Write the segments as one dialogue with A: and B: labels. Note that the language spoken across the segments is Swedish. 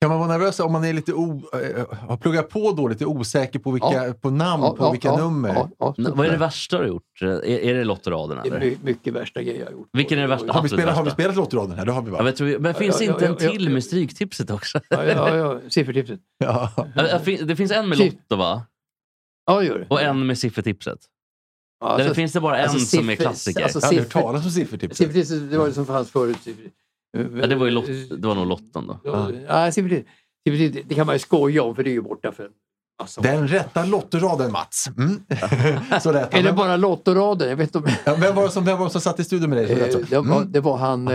A: Kan man vara nervös om man är lite o, eh, har pluggat på då, lite osäker på, vilka,
B: Ja.
A: på namn,
B: Ja,
A: på
B: ja,
A: vilka
B: ja,
A: nummer?
B: Ja, ja,
C: N- Vad är det värsta du har gjort? Är, är det lottraderna?
B: Det är
C: eller?
B: my- mycket värsta grejer jag har gjort.
C: Vilken är det värsta?
A: Har, vi
C: absolut
A: spelat, har vi
C: värsta.
A: spelat lottraden här? Det har vi
C: Ja,
A: va?
C: men, tror, jag- men finns
B: ja,
C: inte
B: ja,
C: en
B: ja,
C: till
B: ja.
C: med Stryktipset också?
B: Ja, ja, ja, siffertipset.
A: Ja.
C: Ja, det fin- Det finns en med
B: Typ.
C: Lotto, va?
B: Ja, det gör det.
C: Och en med siffertipset.
B: Ja,
C: Eller
B: alltså,
C: finns det bara en
B: alltså,
C: som är
B: siffror-
C: klassiker?
B: alltså,
A: Jag har aldrig
B: Siffer-
A: hört talas om siffertipset.
B: Siffertipset, det var det som fanns förut. Siffer- Eh,
C: ja, det, var ju lot, det var nog Lotton då.
A: Ah.
B: Ja, ja, siffertipset, siffertipset, det kan man ju skoja om för det är ju borta för en massa år.
A: Den rätta lottraden, Mats. Mm. Så lät
B: Eller
A: han.
B: bara lottoraden. Jag vet inte om...
A: Ja, vem, var det som, vem var det som satt i studion med dig? Så lät så.
B: Eh, det, var,
A: Mm. Ah.
B: det var han eh,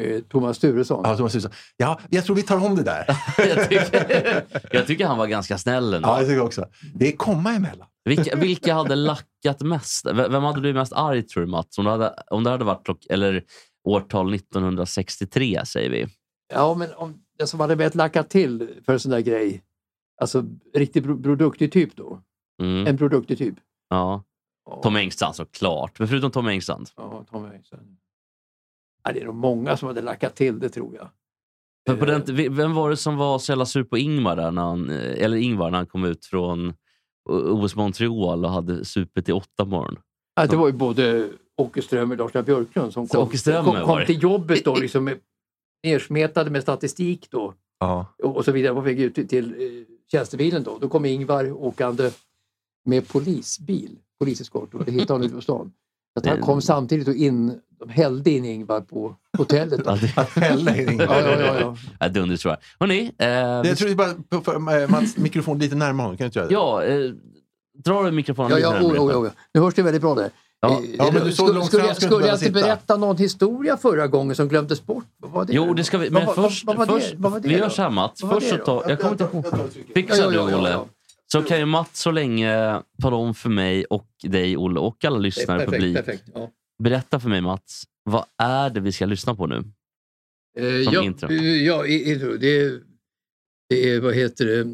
B: eh, Thomas Sturesson.
A: Ja, Thomas Husson. ja, jag tror vi tar om det där.
C: Jag tycker, jag tycker han var ganska snäll ändå.
A: Ja, jag tycker jag också. Det är komma emellan.
C: Vilka, vilka hade lackat mest? V- Vem hade blivit mest arg tror du Mats? Om det hade, om det hade varit klock, eller årtal 1963 säger vi.
B: Ja, men om den som hade velat lacka till för en sån där grej. Alltså riktigt pro- produktig typ då.
C: Mm,
B: En produktig typ.
C: ja.
B: Ja,
C: Tom Engstrand såklart. Men förutom Tom Engstrand.
B: ja, Tom Engström. ja, det är nog många som hade lackat till det tror jag.
C: Men på
B: Eh,
C: den, vi- vem var det som var så jävla sur på Ingmar, där när han, eh, eller Ingvar när han kom ut från O- OS Montreal och hade supit i åtta på morgonen?
B: ja, det var ju både Åke Ström och Lars Björklund som
C: typ- Så
B: kom,
C: Åke Ström
B: kom,
C: var det.
B: kom till jobbet då. Liksom, med- nersmetade med statistik då.
A: Ja.
B: och och så vidare på väg ut till, till eh, tjänstebilen. Då. då kom Ingvar åkande med polisbil, poliseskort, och det hittade han ute på stan. Så att han kom samtidigt och in, de hällde in Ingvar på hotellet.
C: Ja,
B: Då.
C: det-
A: Att fälla är det ingen-
B: Ja, ja, ja, ja.
C: Ja, Dunders tror jag. Hörrni, eh,
A: Det- Jag tror vi bara på- för- Mats mikrofon lite närmare honom. Kan du inte göra det?
C: ja, eh, drar du mikrofonen
B: Ja,
C: lite
B: ja,
C: närmare?
B: oh, oh, oh, oh. Nu hörs det väldigt bra där.
C: Ja.
B: Eh,
A: Ja, men du såg
B: skulle-
A: långt
B: skulle
A: fram,
B: jag,
A: skulle
B: skulle
A: inte
B: jag inte
A: behöva sitta.
B: berätta någon historia förra gången som glömdes bort? Vad var det?
C: Jo, det ska vi. Men
B: Vad var-
C: först,
B: vad var det-
C: först
B: vad var det
C: vi
B: då?
C: gör så här Mats.
B: Vad var
C: Först så
B: det då?
C: tar, jag kommer inte ihåg.
B: Ja,
C: Fixar
B: ja,
C: du
B: ja, ja,
C: Olle?
B: ja.
C: Så kan ju Mats så länge tala om för mig och dig Olle och alla
B: Det är
C: lyssnare i
B: Perfekt,
C: publik.
B: perfekt. Ja.
C: Berätta för mig Mats, vad är det vi ska lyssna på nu?
B: Eh,
C: Som
B: ja,
C: intro.
B: eh, ja, i- intro. Det är, det är, vad heter det, eh,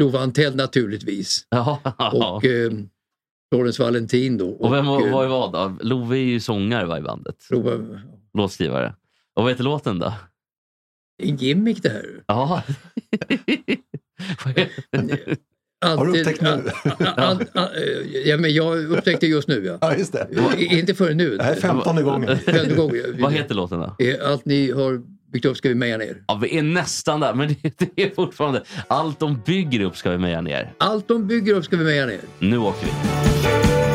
B: Lova Antell naturligtvis.
C: Ja.
B: Och eh, Florence Valentin då.
C: Och vem var,
B: eh,
C: var, var då? Love är ju sångare va, i bandet.
B: Lova,
C: Låtskrivare. Och vad heter låten då?
B: det är en gimmick det här.
C: Ja. Vad är-
A: Har du
B: Alltid-
A: upptäckt nu?
B: a- a- a- eh, ja, men jag upptäckte just nu ja.
A: Ja, just det.
B: Eh, Inte förrän nu.
A: Det här är femtonde gången.
B: Femte gången.
C: vad heter låten då?
B: Eh, Allt ni har byggt upp ska vi meja ner.
C: Ja, vi är nästan där, men det, det är fortfarande... Allt de bygger upp ska vi meja ner.
B: Allt de bygger upp ska vi meja ner.
C: Nu åker vi.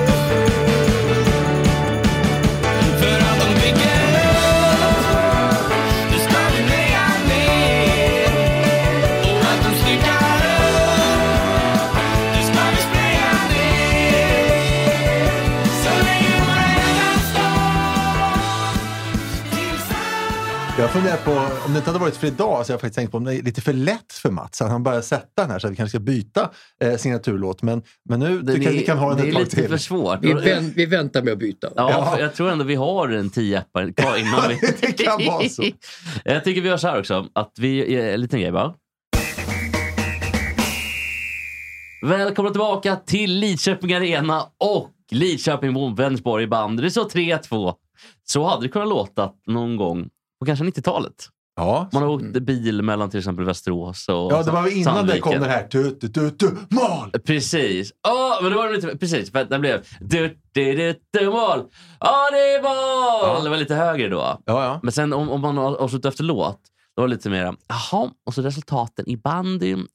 A: Jag funderar på, om det inte hade varit för idag, så har jag faktiskt tänkt på om det är lite för lätt för Mats att han börjar sätta den här så att vi kanske ska byta eh, signaturlåt. Men, men nu tycker jag att vi kan ha den
C: det
A: ett
C: är
A: tag
C: lite för
A: till.
C: svårt.
B: Vi, vän, vi väntar med att byta.
C: Ja,
A: Ja.
C: För jag tror ändå vi har en tioappare kvar innan vi...
A: Det kan vara så.
C: Eh, jag tycker vi gör så här också. Att vi, eh, en liten grej bara. Välkomna tillbaka till Lidköping Arena och Lidköping mot Vänersborg i band. Det är så 3-2. Så hade det kunnat låta någon gång på kanske 90-talet.
A: Ja.
C: Man har åkt bil mellan till exempel Västerås och
A: Mm. ja, det var väl innan det
C: Sandviken.
A: kom den här du, du, du, du, mål!
C: Precis. Ja, men det var lite... Precis, för att den blev... Du, du, du, du, mål! Ja, det är mål!
A: Ja.
C: Det var lite högre då.
A: Ja, ja.
C: Men sen om, om man har avslutat efter låt, då var det lite mer jaha, och så resultaten i bandyn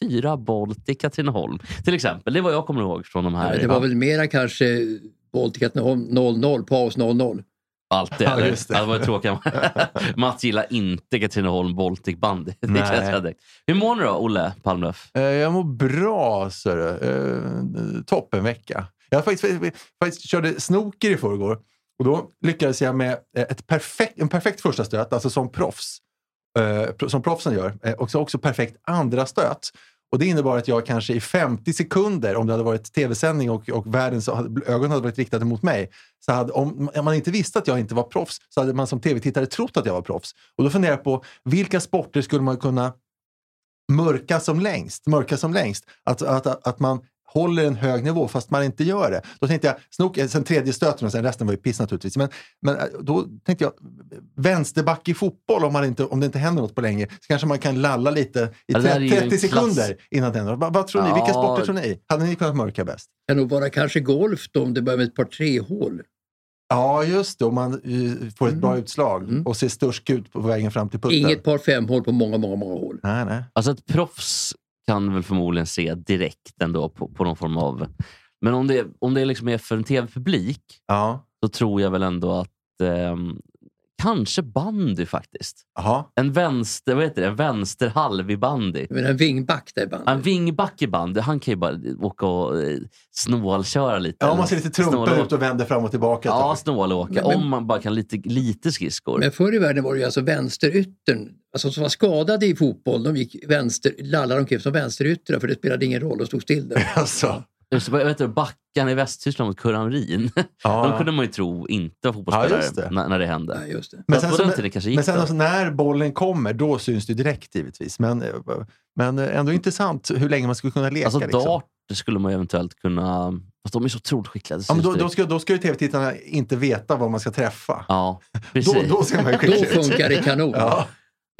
C: 6-4 boll till Katrineholm. Till exempel, det är vad jag kommer ihåg från de här.
B: Men det var väl mera kanske boll till Katrineholm 0-0, paus 0-0.
C: Allt det,
A: Ja,
C: eller? Ja,
A: just
C: det.
A: det.
C: var ju tråkigt. Mats gillar inte Katrineholm Baltic Bandy. Det
A: Nej.
C: känns jag direkt. Hur mår ni då, Olle Palmlöf?
A: Eh, Jag mår bra, ser du. Eh, Toppen vecka. Jag faktiskt, faktiskt, faktiskt körde snooker i förrgår. Och då lyckades jag med eh, ett perfekt, en perfekt första stöt, alltså som proffs. eh, pro- Som proffsen gör. eh, Och så också perfekt andra stöt. Och det innebar att jag kanske i 50 sekunder, om det hade varit tv-sändning och, och världens ögon hade varit riktade mot mig, så hade, om, om man inte visste att jag inte var proffs så hade man som tv-tittare trott att jag var proffs. Och då funderar jag på vilka sporter skulle man kunna mörka som längst. Mörka som längst. Att, att, att, att man håller en hög nivå fast man inte gör det. Då tänkte jag, snok, eh, sen tredje stöten och sen resten var ju piss naturligtvis. Men, men eh, då tänkte jag, vänsterback i fotboll om, man inte, om det inte händer något på länge så kanske man kan lalla lite i
C: Ja, det där är ju
A: 30,
C: en
A: 30
C: klass.
A: sekunder innan det händer något. Vad, vad tror ni? Vilka
C: Ja.
A: sporter tror ni? Hade ni kunnat mörka bäst?
B: Kan nog vara kanske golf då, om det börjar med ett par trehål.
A: Ja, just det. Om man eh, får ett bra utslag
B: Mm.
A: och ser störsk ut på vägen fram till putten.
B: Inget par femhål på många, många, många hål.
A: Nej, nej.
C: Alltså ett proffs kan väl förmodligen se direkt ändå på, på någon form av... Men om det, om det liksom är för en tv-publik
A: Ja.
C: så tror jag väl ändå att ehm, kanske bandy faktiskt.
A: Jaha.
C: En, vänster, vad heter det? en vänsterhalv i bandy.
B: Men en vingback där i
C: En
B: bandet.
C: vingback i bandy, han kan ju bara åka och eh, snålköra lite.
A: Ja, om
C: Eller
A: man ser lite trumpen
C: snålåka.
A: ut och vänder fram och tillbaka.
C: Ja, snålåka.
B: Men- men-
C: Om man bara kan lite, lite skridskor.
B: Men förr i världen var det ju alltså vänsteryttern, alltså som var skadade i fotboll, de gick vänster, lallade omkring som vänsteryttrar för det spelade ingen roll, de stod still där.
A: Alltså.
C: Just, vad- vet du, backarna i Västtyskland mot Kurran Rin.
A: Ja.
C: De kunde man ju tro inte var fotbollsspelare
A: Ja, just det.
C: när, när det hände.
B: Nej, just det.
C: Men på den tiden kanske gick
A: men sen
C: det.
A: alltså, när bollen kommer, då syns det direkt givetvis. Men, eh, men eh, ändå intressant hur länge man skulle kunna leka.
C: Alltså
A: liksom.
C: dart skulle man ju eventuellt kunna... Fast de är så otroligt skickliga.
A: ja, men då,
C: syns det.
A: då, ska, då ska ju tv-tittarna inte veta vad man ska träffa.
C: ja,
A: då,
C: precis.
A: då ser man ju
B: Då
A: skicklig ut.
B: funkar det kanon.
A: Ja,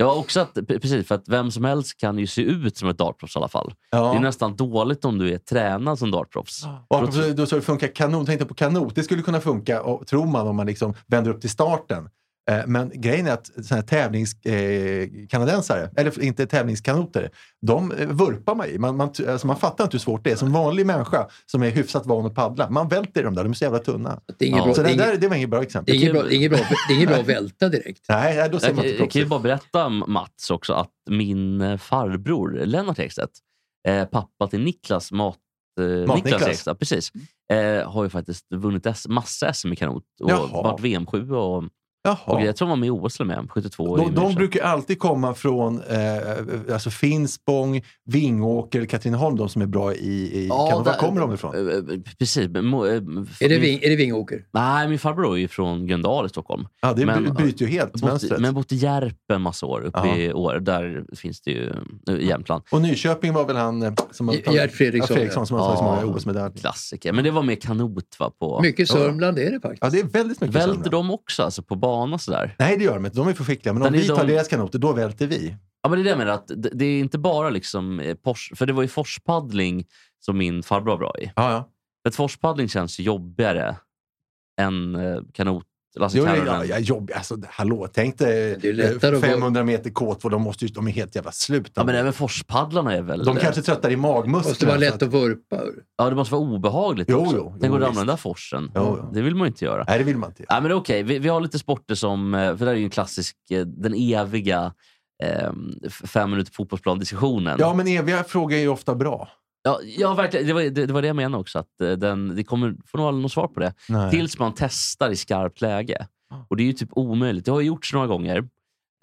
C: Ja, också att, pre- precis, för att vem som helst kan ju se ut som ett dartproffs i alla fall. Det är
A: ja.
C: nästan dåligt om du är tränad som dartproffs.
A: Och apropå, då så det funkar kanon. Tänkte jag på kanot. Det skulle kunna funka, och, tror man, om man liksom vänder upp till starten. Eh, Men grejen är att såna här tävlingskanadensare, eller inte tävlingskanoter, de eh, vurpar man i. Man, man, alltså man fattar inte hur svårt det är. Som vanlig människa som är hyfsat van att paddla, man välter i de där. De är så jävla tunna.
B: Det är inget
C: Ja.
B: bra-
A: Så
B: det är
A: det,
B: inget-
A: där, det var inget bra
B: det är
A: exempel.
B: inget bra- det är inget bra- det är inget bra att välta direkt.
A: Nej, nej, då ser
C: Jag,
A: man
C: jag,
A: inte
C: jag kan
A: proffsigt.
C: ju bara berätta, Mats, också att min eh, farbror Lennart Ekstedt, eh, pappa till Niklas Mat, eh, Niklas,
A: Niklas.
C: Ekstedt, precis, eh, har ju faktiskt vunnit S, massa SM i kanot och
A: Jaha.
C: varit VM-7 och, och
A: Jaha.
C: grejer. Jag tror han var med i OS eller med, 72. i
A: De, de
C: München.
A: brukar alltid komma från eh, alltså Finspång, Vingåker, Katrineholm, de som är bra i, i kanot. Var
C: där-
A: kommer de ifrån?
C: Eh, eh, Precis. men mo- eh,
B: Är det,
C: min-
B: ving, är det Vingåker?
C: Nej, min farbror är ju från Gröndal i Stockholm.
A: Ja, det
C: Men-
A: by- byter ju helt
C: Bott,
A: mönstret.
C: men bott i Järpen en massa år, uppe
A: Ja.
C: i år. Där finns det ju eh, i Jämtland.
A: Och Nyköping var väl han eh, som har
B: Ge- Gerd
A: Ja,
B: Fredriksson,
A: Fredriksson som har tagit så
C: Ja.
A: många OS-medaljer.
C: Klassiker. Men det var mer kanot va? På...
B: Mycket Sörmland är det faktiskt.
A: Ja, det är väldigt mycket
C: Välter
A: Sörmland.
C: de också alltså, på bana sådär?
A: Nej, det gör de inte. De är för skickliga. Men om
C: Utan det är
A: vi tar
C: de-
A: deras kanoter, då välter vi.
C: Ja, men det är det jag menar. Att det, det är inte bara liksom eh, Porsche, För det var ju forspaddling som min farbror var bra i.
A: Ja, ja.
C: För att forspaddling känns ju jobbigare än eh, kanot. Lasse
A: Jo, det-
C: Karolainen.
A: ja, ja, jobb, alltså, hallå, tänk dig
B: Det är lättare
A: eh,
B: att vara-
A: 500 meter kåt, för de, måste ju, de är helt jävla slut.
C: ja, men även forspaddlarna är väl...
A: de kanske tröttar i magmusklerna.
B: Måste vara
A: så
B: lätt att vurpa. ur.
C: Ja, det måste vara obehagligt
A: Jo,
C: också.
A: jo, jo,
C: Tänk att ramla i
A: visst.
C: den där forsen.
A: Jo, jo.
C: Det vill man ju inte göra.
A: Nej, det vill man inte.
C: Nej, men det är okej. Vi, vi har lite sporter som... eh, För det här är ju en klassisk, eh, den eviga eh, f- fem minuter fotbollsplan-diskussionen.
A: Ja, men eviga frågor är ju ofta bra.
C: Ja, ja, verkligen. Det var det, det var det jag menade också. Att eh, den, det kommer, får nog aldrig något svar på det.
A: Nej.
C: Tills man testar i skarpt läge. Och det är ju typ omöjligt. Det har ju gjorts några gånger.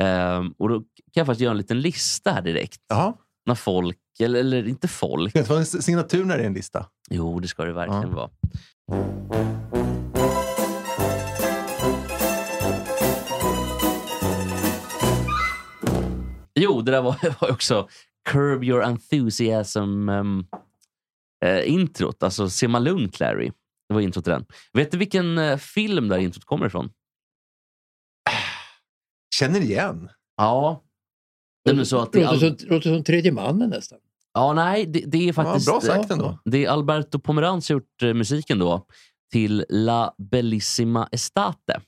C: Ehm, och då kan jag faktiskt göra en liten lista här direkt.
A: Jaha.
C: När folk, eller, eller inte folk.
A: Ska det inte vara en s- signatur när det är en lista?
C: Jo, det ska det verkligen
A: Ja.
C: vara. Jo, det där var, var ju också Curb Your Enthusiasm um, eh, introt. Alltså Simma Lugn Clary. Det var introt till den. Vet du vilken eh, film där introt kommer ifrån?
A: Känner igen.
C: Ja. Det är nu så att det är
B: Låter
C: Al-
B: som, låter som tredje mannen nästan.
C: ja, nej, det, det är faktiskt...
A: ja, bra sagt ändå.
C: Det är Alberto Pomeranz som gjort eh, musiken då till La Bellissima Estate.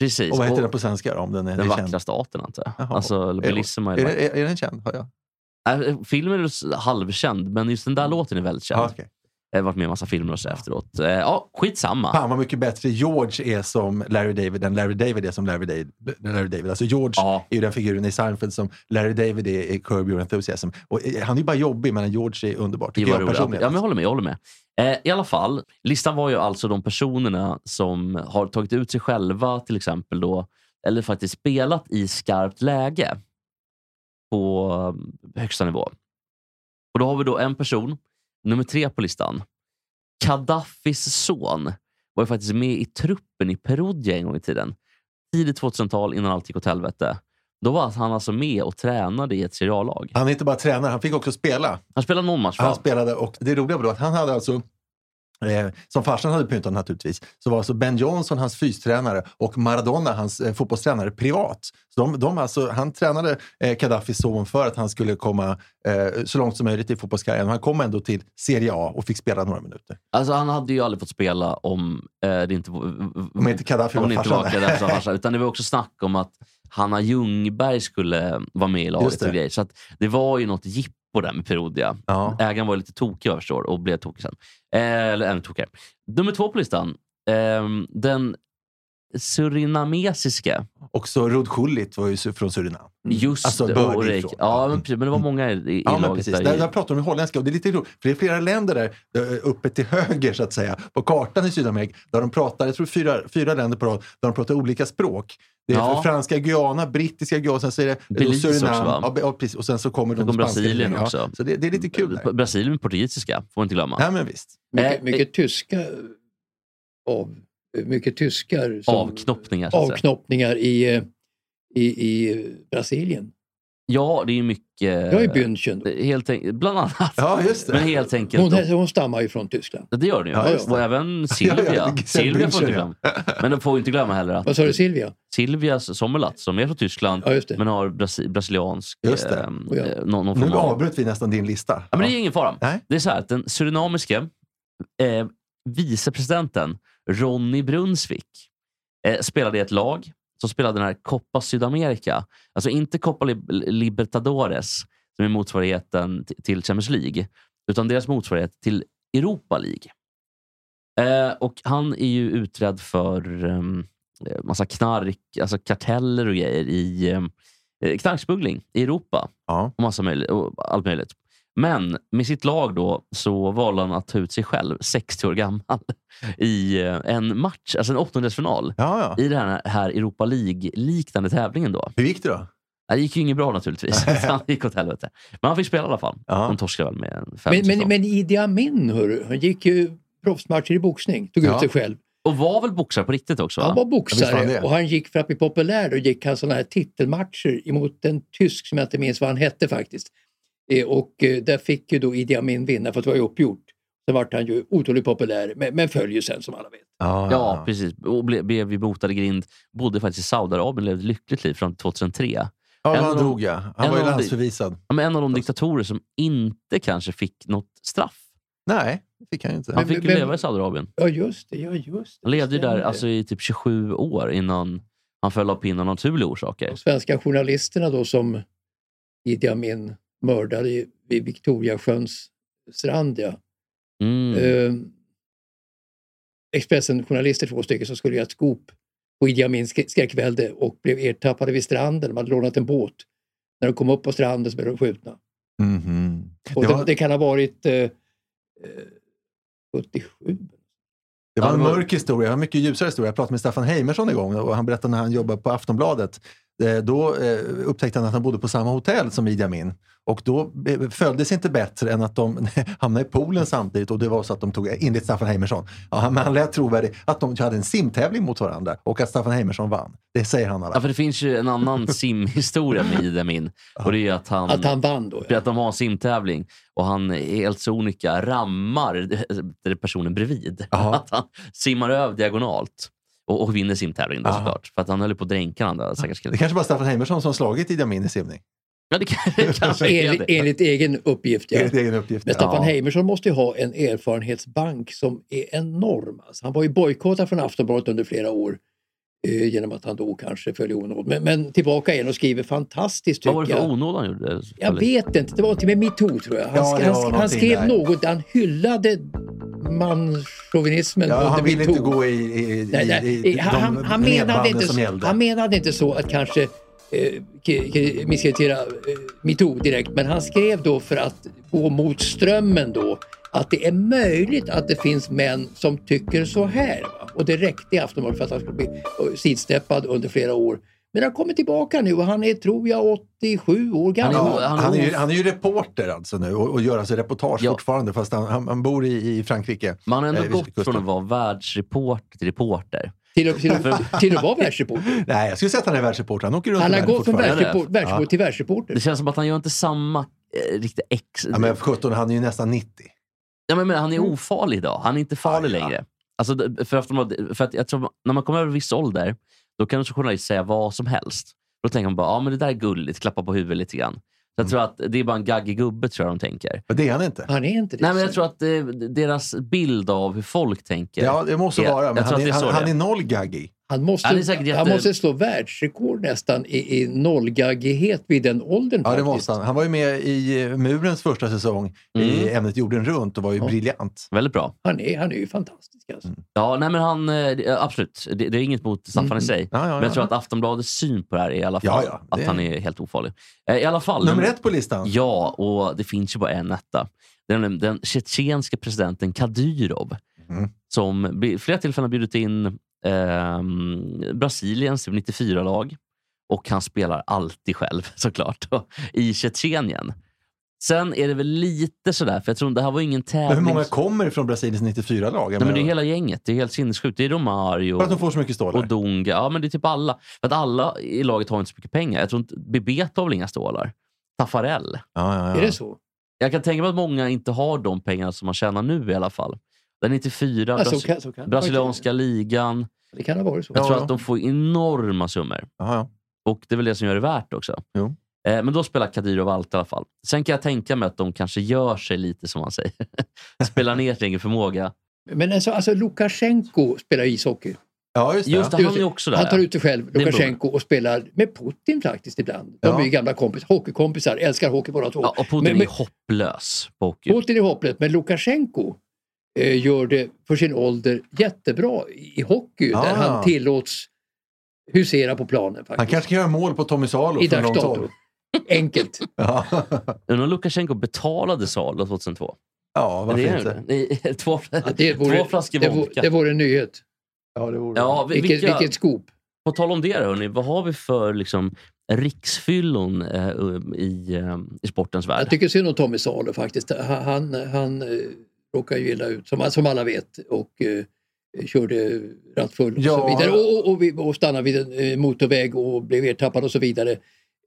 C: Precis.
A: Och vad heter den på svenska då, om den är,
C: Den
A: är känd?
C: vackra staten, antar jag.
A: Jaha.
C: Alltså, La Bellissima är,
A: Är, det- är, är den känd? Har jag?
C: Äh, Filmen är s- halvkänd, men just den där låten är väldigt känd.
A: Mm. Ja, okej.
C: Jag har varit med i en massa filmer och så efteråt. Eh, Ja, skitsamma.
A: Fan vad mycket bättre George är som Larry David än Larry David är som Larry David. Larry David. Alltså George
C: Ja.
A: är ju den figuren i Seinfeld som Larry David är i Curb Your Enthusiasm. Och eh, han är ju bara jobbig, men George är underbar.
C: Det
A: Tycker
C: var
A: jag
C: roligt. Ja,
A: personligen.
C: men jag håller med. Jag håller med. Eh, I alla fall, listan var ju alltså de personerna som har tagit ut sig själva till exempel då, eller faktiskt spelat i skarpt läge på eh, högsta nivå. Och då har vi då en person, nummer tre på listan. Gaddafis son var ju faktiskt med i truppen i Perugia en gång i tiden. Tidigt 2000-tal innan allt gick åt helvete. Då var han alltså med och tränade i ett seriallag.
A: Han är inte bara tränare, han fick också spela.
C: Han spelade någon match. va?
A: Han spelade och det roliga var då att han hade alltså, eh, som farsan hade pyntat naturligtvis, så var alltså Ben Johnson hans fystränare och Maradona hans eh, fotbollstränare privat. Så de, de alltså, han tränade eh, Gaddafis son för att han skulle komma eh, så långt som möjligt i fotbollskarriären. Han kom ändå till Serie A och fick spela några minuter.
C: Alltså, han hade ju aldrig fått spela om eh, det inte var...
A: Om inte Gaddafi
C: om
A: var
C: det inte
A: farsan.
C: var Gaddafi som farsa. Utan det var också snack om att Hanna Ljungberg skulle vara med i
A: Just
C: laget.
A: det.
C: Och grejer. Så att det var ju något jippo där med Perugia.
A: Ja.
C: Ägaren var ju lite tokig vad jag förstår och blev tokig sen. Eh, eller ännu tokigare. Nummer två på listan. Ehm, den surinamesiska.
A: Mm. Också Rod Gullit var ju su- från Surinam.
C: Just
A: Alltså,
C: det.
A: bördig
C: och Ulrik.
A: från.
C: Ja, men, precis, men det var många i, i
A: Ja, men
C: laget
A: precis.
C: där.
A: Där, där pratar de om holländska och det är lite roligt, för det är flera länder där eh, uppe till höger så att säga, på kartan i Sydamerika, där de pratar, jag tror fyra, fyra länder på rad, där de pratar olika språk. Det är
C: Ja.
A: för franska Guyana, brittiska Guyana, sen så är det eh,
C: Belize också, va?
A: Ja, be- ja, precis. Och sen så kommer
C: Sen
A: de
C: kom
A: spanska
C: Brasilien
A: grejerna, ja.
C: också. Mm.
A: Så det, det är lite kul. Där.
C: Brasilien med portugisiska, får man inte glömma.
A: Nej, men visst.
B: Mycket,
C: Eh,
B: mycket tyska av, mycket tyskar som,
C: Avknoppningar. Alltså, Så att säga.
B: avknoppningar i, eh, i, i Brasilien.
C: Ja, det är ju mycket...
B: Jag är München.
C: Helt enkelt, bland annat.
A: Ja, just det.
C: Men helt enkelt.
B: Hon, hon stammar ju från Tyskland.
C: det gör den ju.
A: Ja, just det.
C: och även
A: Ja, ja,
C: Silvia.
A: det-
C: Silvia får inte
A: München, ja.
C: glömma. Men de får inte glömma heller att
B: Vad sa du Silvia?
C: Silvia Sommerlath, som är från Tyskland,
B: Ja, just det.
C: men har brasi- brasiliansk...
A: Just det.
C: eh,
B: Och ja.
C: eh, någon, någon
A: Nu
C: form av...
A: avbröt vi nästan din lista.
C: Ja, men det är ingen fara.
A: Nej.
C: Det är så här att den surinamiske eh, vicepresidenten Ronny Brunsvik eh, spelade i ett lag som spelade den här Copa Sydamerika. Alltså inte Copa Lib- Libertadores, som är motsvarigheten t- till Champions League, utan deras motsvarighet till Europa League. Eh, och han är ju utredd för ehm, eh, massa knark, alltså karteller och grejer i ehm, eh, knarksmuggling i Europa
A: Ja.
C: och, massa möjligt, och allt möjligt. Men med sitt lag då så valde han att ta ut sig själv, 60 år gammal, i eh, en match, alltså en åttondelsfinal
A: Ja, ja.
C: i den här, här Europa League-liknande tävlingen. då.
A: Hur gick det då?
C: Det gick ju inget bra naturligtvis. Så han gick åt helvete. Men han fick spela i alla fall.
A: Ja.
C: De torskade väl med en fem
B: Men, men,
C: men,
B: men Idi Amin, hörru, han gick ju proffsmatcher i boxning, tog
A: Ja.
B: ut sig själv.
C: Och var väl boxare på riktigt också?
B: Han var
C: Va?
A: Ja, visst var
B: boxare
A: han det.
B: och han gick för att bli populär. Då gick han sådana här titelmatcher emot en tysk som jag inte minns vad han hette faktiskt. Eh, Och eh, där fick ju då Idi Amin vinna för att det var ju uppgjort. Sen vart han ju otroligt populär, men, men följer sen som alla vet.
C: Ja, precis. Och ble, blev ju botad i grind. Bodde faktiskt i Saudiarabien, levde ett lyckligt liv fram till 2003.
A: ja
C: En
A: han
C: av de-
A: dog ja. Han
C: en
A: var ju
C: av de-
A: landsförvisad.
C: Ja, men en av de diktatorer som inte kanske fick något straff.
A: Nej, det fick han ju inte.
C: Han
B: Men-
C: fick ju
B: men-
C: leva i Saudiarabien.
B: Ja just det, ja just det.
C: Han levde ju där
B: Stämmer.
C: alltså, i typ 27 år innan han föll av pinnen av naturliga orsaker.
B: De svenska journalisterna då som Idi Amin mördade i- vid Victoriasjöns strand. Ja.
C: Mm.
B: Eh, Expressen-journalister, två stycken, som skulle göra ett scoop på Idi Amins skrä- skräckvälde och blev ertappade vid stranden. De hade lånat en båt. När de kom upp på stranden så blev de skjutna.
A: Mhm.
B: Och
A: Det
B: det,
A: var-
B: det, kan ha varit eh, eh, 77.
C: Mm.
A: Det var
C: Ja,
A: en
C: det var-
A: mörk historia, en mycket ljusare historia. Jag pratade med Staffan Heimersson en gång och han berättade när han jobbade på Aftonbladet. Eh, Då eh, upptäckte han att han bodde på samma hotell som Idi Amin. Och då eh, följdes inte bättre än att de hamnade i poolen samtidigt. Och det var så att de tog, eh, enligt Staffan Heimersson, ja, han, men han lät trovärdig, att de hade en simtävling mot varandra och att Staffan Heimersson vann. Det säger han i alla
C: Ja,
A: fall.
C: för det finns ju en annan simhistoria med Idi Amin. Och det är ju att han,
B: Att han vann då.
C: för att de har en simtävling och han helt sonika rammar eh, personen bredvid.
A: Jaha.
C: Att han simmar över diagonalt och, och vinner simtävlingen då,
A: Jaha.
C: såklart. För att han höll ju på att dränka den andra stackars
A: Det
C: killen.
A: kanske var Staffan Heimersson som slagit Idi Amin i simning.
C: Ja, det kan- det kanske är
B: Enligt,
C: det.
B: enligt egen uppgift. Ja.
A: Enligt egen uppgift.
B: Men Staffan
A: ja.
B: Heimersson måste ju ha en erfarenhetsbank som är enorm. Alltså, han var ju bojkottad från Aftonbladet under flera år eh, genom att han då kanske föll i onåd. Men, men tillbaka igen och skriver fantastiskt
C: Vad var det
B: tycker
C: för
B: jag.
C: onåd han gjorde?
B: Jag vet inte, det var till och med metoo tror jag. Han,
A: Ja, det var
B: han, han
A: någonting
B: skrev
A: där.
B: något, han hyllade manschauvinismen
A: Ja,
B: under
A: han ville inte
B: metoo.
A: gå i, i, i,
B: Nej, nej.
A: i de
B: han, han, han, menade
A: ledbanden
B: inte,
A: som
B: så-
A: gällde.
B: han menade inte så att kanske eh, k- k- misskreditera eh, metoo direkt, men han skrev då för att gå mot strömmen då att det är möjligt att det finns män som tycker så här. Va? Och det räckte i Aftonbladet för att han skulle bli eh, sidsteppad under flera år. Men han kommer tillbaka nu och han är, tror jag, 87 år
C: Han
B: gammal.
C: är
A: Ja,
C: han
A: han,
C: är
A: är ju,
C: off.
A: han är ju reporter alltså nu och, och gör alltså reportage
C: Ja.
A: fortfarande fast han, han, han bor i, i Frankrike.
C: Man har ändå
A: Eh, vid
C: gått
A: kusten.
C: från att vara världsreporter till reporter.
B: Till att till, att- till att vara världsreporter.
A: Nej, jag skulle säga att han är världsreporter. Han åker runt
B: Han
A: i
B: har
A: världen
B: gått från
A: fortfarande.
B: världsreporter världsreporter till världsreporter.
C: Det känns som att han gör inte samma eh, riktigt ex...
A: Ja, men 17, han är ju nästan 90.
C: Ja, men, men han är ofarlig idag. Han är inte farlig
A: Mm. Ja, ja.
C: längre. Alltså, d- för Aftonbladet, för att jag tror, när man kommer över en viss ålder, då kan en journalist säga vad som helst. Då tänker man bara, ja men det där är gulligt, klappa på huvudet lite grann. Så jag
A: Mm.
C: tror att det är bara en gaggig gubbe, tror jag de tänker.
A: Men det är han inte.
B: Han är inte det.
C: Nej, men jag tror att eh, deras bild av hur folk tänker.
A: Ja, det måste
C: Ja,
A: vara.
C: jag
A: Men
C: tror
A: han
C: att
A: är,
C: det är så
A: han, han
C: det är.
A: är noll gaggig.
B: Han måste,
C: Han
B: han,
C: är säkert jätte-
B: måste slå världsrekord nästan i, i nollgaggighet vid den åldern.
A: Ja, det
B: faktiskt.
A: måste han. Han var ju med i eh, Murens första säsong i
C: Mm.
A: ämnet jorden runt och var ju
B: Ja.
A: briljant.
C: Väldigt bra.
B: Han, är, han är ju fantastisk. Alltså.
A: Mm.
C: Ja, nej, men han, eh, det- absolut. Det, det är inget mot Staffan
B: Mm.
C: i sig.
A: Ja, ja,
C: Men jag tror
A: ja.
C: att Aftonbladets syn på det här är i alla
A: Ja,
C: fall
A: ja,
C: att
A: det-
C: han är helt ofarlig. Eh, I alla fall.
A: Nummer
C: men-
A: ett på listan.
C: Ja, och det finns ju bara en etta. Den, den tjetjenske presidenten Kadyrov.
A: Mm.
C: Som vid flera tillfällen har bjudit in ehm, Brasiliens 94-lag. Och han spelar alltid själv såklart då, i Tjetjenien. Sen är det väl lite sådär, för jag tror det här var ingen tävling.
A: Men hur många kommer från Brasiliens 94-lag? Jag
C: Nej, men det är
A: menar,
C: hela gänget. Det är helt sinnessjukt. Det är Romario.
A: För att de får så mycket stålar.
C: Och Dunga. Ja, men det är typ alla. För att alla i laget har inte så mycket pengar. Jag tror inte, Bibeta har väl inga stålar. Taffarel.
A: Ja, ja, ja.
B: Är det så?
C: Jag kan tänka mig att många inte har de pengarna som man tjänar nu i alla fall. Den 94,
B: Ja, så
C: Brasi-
B: Alltså, kan, så kan. det
C: brasilianska ligan.
B: faktiskt. Det kan ha varit så.
C: Jag
A: Ja,
C: tror
A: ja.
C: att de får enorma summor.
A: Ja, ja.
C: Och det är väl det som gör det värt också.
A: Jo.
C: Eh, Men då spelar Kadyrov allt i alla fall. Sen kan jag tänka mig att de kanske gör sig lite som man säger. spelar ner sin egen förmåga.
B: Men alltså, alltså Lukasjenko spelar ishockey.
A: ja, just det.
C: Just det,
B: Just
C: han
B: det.
C: är också där.
B: Han tar
C: ja.
B: ut det själv,
C: Det är
B: Lukasjenko, och spelar med Putin faktiskt ibland. De
A: Ja.
B: är ju gamla kompisar, hockeykompisar, älskar hockey båda två.
C: Ja, och Putin
B: Men- men-
C: är hopplös på hockey.
B: Putin är hopplös, men Lukasjenko eh, gör det för sin ålder jättebra i i hockey
A: Ah.
B: där han tillåts husera på planen.
A: Han
B: faktiskt.
A: kanske kan göra mål på Tommy Salo
B: I
A: från
B: dags
A: långt
B: dato.
A: håll.
B: Enkelt.
A: Ja,
C: Undrar om Lukasjenko betalade Salo 2002?
A: ja
C: Men
A: varför
C: det gör
A: inte?
C: han inte. Två,
B: Ja, det vore-
C: två flaskor
B: Det vore,
C: vodka.
B: det vore en nyhet.
A: Ja, det vore
C: Ja, vi-
B: Vilket,
C: vilka-
B: vilket scoop.
C: På tal om det, då, hörni, vad har vi för liksom, riksfyllon eh, um, i, eh, i sportens värld?
B: Jag tycker synd om Tommy Salo faktiskt. Han, han, han eh, råkar ju illa ut, som, som alla vet, och eh, körde rattfull och
A: Ja.
B: så vidare. Och, och, och, vi, och stannade vid en eh, motorväg och blev ertappad och så vidare.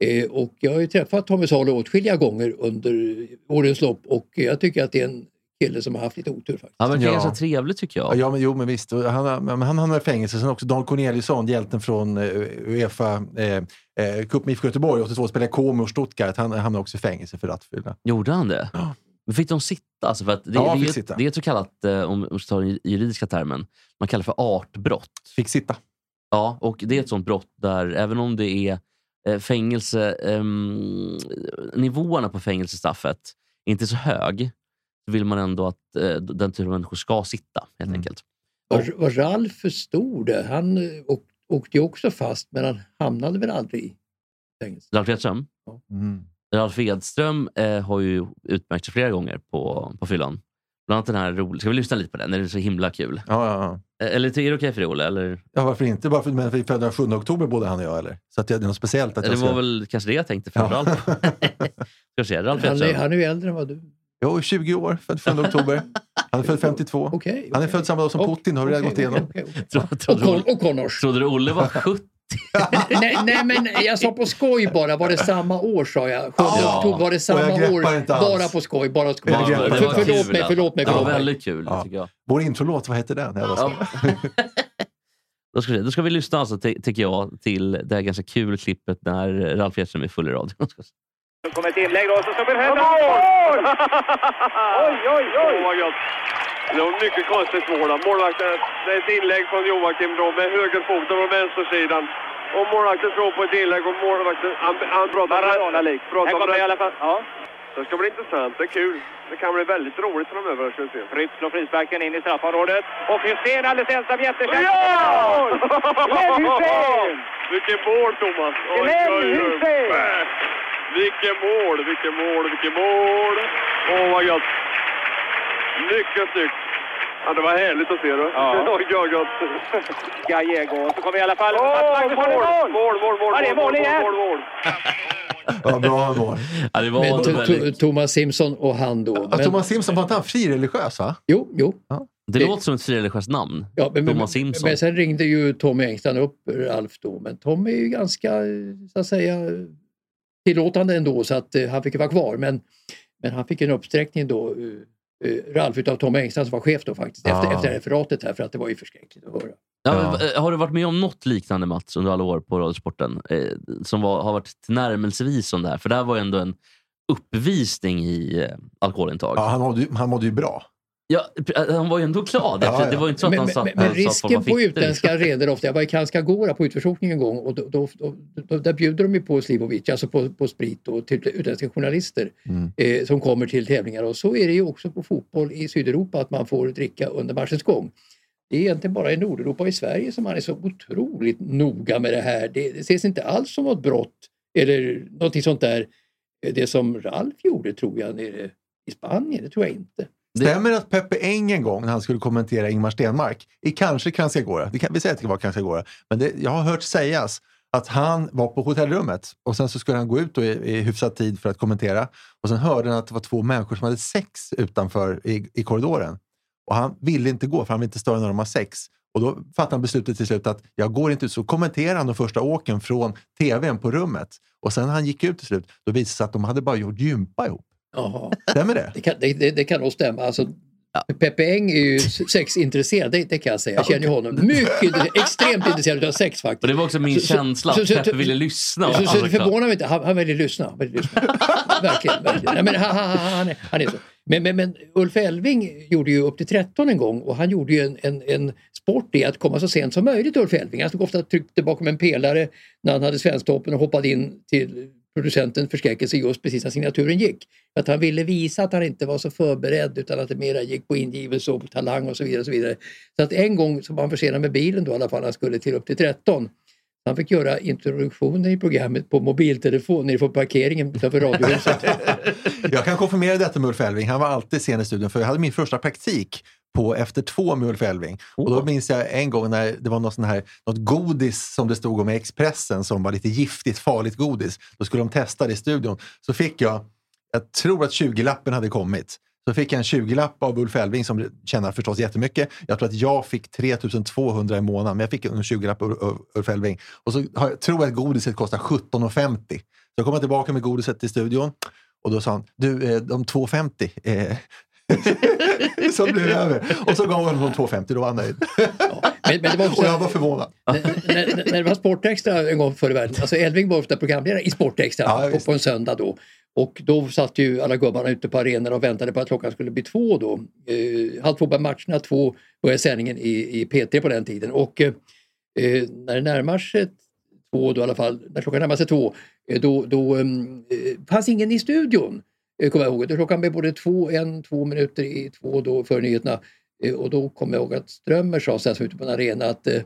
B: Eh, och jag har ju träffat Tommy Salo åtskilliga gånger under årens lopp och jag tycker att det är en kille som har haft lite otur faktiskt.
C: Han verkar
A: Ja.
C: ganska trevlig tycker
A: Ja,
C: jag.
A: ja, men, jo, men visst. Och Han, men han hamnade i fängelse. Sen också Dan Corneliusson, hjälten från eh, Uefa eh, eh, Cupen IFK Göteborg 82, spelade Como och Stuttgart. Han hamnade också i fängelse för rattfylla.
C: Gjorde han det?
A: Ja.
C: Men Fick de sitta? Alltså, för att det,
A: Ja,
C: det, är
A: fick
C: ett-
A: sitta.
C: det är ett så kallat, eh, om om vi tar den juridiska termen, man kallar för artbrott.
A: Fick sitta.
C: Ja, och det är ett sånt brott där, även om det är eh, fängelse, ehm, nivåerna på fängelsestraffet är inte så hög, så vill man ändå att eh, den typen av människor ska sitta. helt
A: Mm.
C: enkelt.
B: Vad, vad Ralf förstod det, han eh, åk, åkte ju också fast men han hamnade väl aldrig i fängelse.
C: Ralf Edström,
A: Mm.
C: Ralf Edström eh, har ju utmärkt sig flera gånger på, på fyllan. Bland annat den här roliga. Ska vi lyssna lite på den? Den är så himla kul.
A: Ja, ja, ja.
C: Eh, Eller är det okej för dig, Olle? Eller,
A: ja, varför inte? Bara för, men vi föddes den 7 oktober både han och jag, eller? Så att jag, det är något speciellt att
C: det
A: jag
C: var väl kanske det jag tänkte framförallt på.
A: Ja.
C: Ska vi se, Ralf
B: Han är,
C: Edström.
B: han är ju äldre än vad du.
A: Jo, 20 år, född 7 oktober. Han är född 52.
B: Okej.
A: Han är
B: okej.
A: född samma dag som
B: Okej,
A: Putin, har vi redan
B: okej,
A: gått igenom.
B: okej, okej.
C: Tro-
B: Och,
C: Trodde
B: kon,
C: du-
B: och Connors.
C: trodde du Olle var 70?
B: nej, nej, men jag sa på skoj bara. Var det samma år sa jag? 7
A: Ja.
B: oktober var det
A: Och jag
B: samma
A: greppar
B: år.
A: inte alls.
B: Bara på skoj. Bara skoj.
A: Jag
B: Bara,
A: greppar inte
B: för,
A: alls.
B: förlåt mig, förlåt mig.
C: Det var
B: Förlåt mig.
C: väldigt kul,
A: Ja.
C: tycker jag.
A: Vår introlåt, vad hette den? Jag lovar.
C: Ja. Då ska, vi, se. då ska vi lyssna, alltså, ty- tycker jag, till det här ganska kul klippet när Ralf Edström är full i radio.
D: Det kommer ett inlägg och så ska Wilhelm... Mål! oj, oj, oj! Oh, vad gött. Det var mycket konstigt mål. då. Målvakten, det är ett inlägg från Joakim då med högerfoten från vänstersidan. Och målvakten tror på ett inläg och målvakten... Han, han pratar om... Pratar om det i alla fall. Ja. Det ska bli intressant. Det är kul. Det kan bli väldigt roligt framöver. Ska vi se. Fritz slår frisparken in i straffområdet. Och Hysén alldeles ensam jättechans. Ja! Glenn Hysén! Vilken mål, Thomas! Glenn Hysén! Vilken mål, vilken mål, vilken mål! Åh, vad gött! Oh Mycket snyggt. Ja, det var härligt att se. Då. Oh Oj, oj, oj.
E: Gallego. Så kommer i alla fall...
D: Åh, mål, mål, mål, mål, mål,
E: Ja, det är mål igen.
D: mål, mål, mål.
A: Ja, bra mål.
C: Ja, det var
B: Men
C: en
B: to, to,
C: väldigt...
B: Thomas Simpson och han då.
A: Ja,
B: Men,
A: Thomas Simpson, var inte han frireligiös? Va?
B: jo, jo.
C: Det låter som ett frireligiöst namn.
B: Ja, men,
C: Thomas Simpson.
B: Men sen ringde ju Tommy Engstrand upp Ralf då. Men Tommy är ju ganska, eh, så att säga, tillåtande ändå så att eh, han fick ju vara kvar. Men, men han fick en uppsträckning då, eh, eh, Ralf, utav Tommy Engstrand som var chef då faktiskt. Efter,
A: Ah.
B: efter referatet här för att det var ju förskräckligt att höra.
C: Ja, men, eh, Har du varit med om något liknande Mats under alla år på Radiosporten? Eh, som var, har varit tillnärmelsevis som det här? För det här var ju ändå en uppvisning i eh, alkoholintag.
A: Ja, han, mådde, ju- han mådde ju bra.
C: Ja, eh, han var ju ändå glad.
A: Ja, ja.
C: Det var ju inte så att
B: Men,
C: han
B: men,
C: satt
B: men, men
C: och sa att
B: risken
C: man fick
B: på
C: det,
B: utländska
C: liksom.
B: arenor ofta, jag var i Kansagora på utförsåkning en gång och då, då, då, då, där bjuder de ju på Slivovic, alltså på, på sprit och till utländska journalister
A: Mm.
B: eh, som kommer till tävlingar och så är det ju också på fotboll i Sydeuropa att man får dricka under matchens gång. Det är egentligen bara i Nordeuropa och i Sverige som man är så otroligt noga med det här. Det, det ses inte alls som något brott eller någonting sånt där. Eh, Det som Ralf gjorde tror jag nere i Spanien, det tror jag inte.
A: Stämmer det att Peppe Eng en gång när han skulle kommentera Ingmar Stenmark i kanske Kranjskogora, det kan vi säger att det var Kranjskogora, men det, jag har hört sägas att han var på hotellrummet och sen så skulle han gå ut då i, i hyfsad tid för att kommentera och sen hörde han att det var två människor som hade sex utanför i, i korridoren och han ville inte gå för han ville inte störa när de har sex och då fattade han beslutet till slut att jag går inte ut så kommenterade han de första åken från tvn på rummet och sen när han gick ut till slut då visade det sig att de hade bara gjort gympa ihop.
B: Jaha.
A: Stämmer det?
B: Det kan, det, det, det kan nog stämma. Alltså, Peppe Eng är ju sexintresserad, det, det kan jag säga. Jag känner ju honom. Mycket intresserad, extremt intresserad av sex
C: Och
B: faktiskt.
C: det var också min
B: Så- så-
C: känsla, att
B: så- så-
C: Peppe ville lyssna.
B: Så, så
C: Alltså,
B: det förvånar mig inte, han, han ville lyssna. Han ville lyssna. verkligen. verkligen. Nej, men, han, han, han, han, är, han är så. Men, men, men Ulf Elving gjorde ju Upp till 13 en gång och han gjorde ju en, en, en sport i att komma så sent som möjligt, Ulf Elving. Han stod ofta och tryckte bakom en pelare när han hade Svensktoppen och hoppade in till producenten förskräckelse just precis när signaturen gick. För Att han ville visa att han inte var så förberedd utan att det mera gick på ingivelse och på talang och så vidare. Och så, vidare. så att en gång så var han försenad med bilen då i alla fall, han skulle till upp till 13. Han fick göra introduktionen i programmet på mobiltelefon nerifrån parkeringen utanför radiohuset.
A: Jag kan konfirmera detta med Ulf Elving. Han var alltid sen i studion. För jag hade min första praktik på Efter två med Ulf Elving. Och då minns jag en gång när det var något, sån här, något godis som det stod om i Expressen som var lite giftigt, farligt godis. Då skulle de testa det i studion. Så fick jag, jag tror att 20-lappen hade kommit. Så fick jag en 20-lapp av Ulf Elving som tjänar förstås jättemycket. Jag tror att jag fick 3200 i månaden, men jag fick en 20-lapp av av Ulf Elving. Och så har, jag- tror jag att godiset kostar 17,50. Så jag kommer tillbaka med godiset till studion och då sa han, du, eh, de 2,50 eh, som blev över. Och så gav han honom 2,50 då var han nöjd.
B: Men, men det var också,
A: Och jag var förvånad.
B: när, när, när det var Sportextra en gång förr i världen, alltså Elving var ofta programledare i Sportextra
A: Ja,
B: på,
A: visst.
B: på en söndag då. Och då satt ju alla gubbarna ute på arenorna och väntade på att klockan skulle bli två då. Eh, halv två började matcherna, två började sändningen i, i P3 på den tiden. Och eh, eh, när det närmar sig två, då i alla fall, när klockan närmar sig två, eh, då, då ehm, eh, fanns ingen i studion. Eh, kommer jag ihåg. Då Klockan blev både två, en, två minuter i två då före nyheterna. Eh, och då kommer jag ihåg att Strömmer sa sen som var ute på en arena att eh,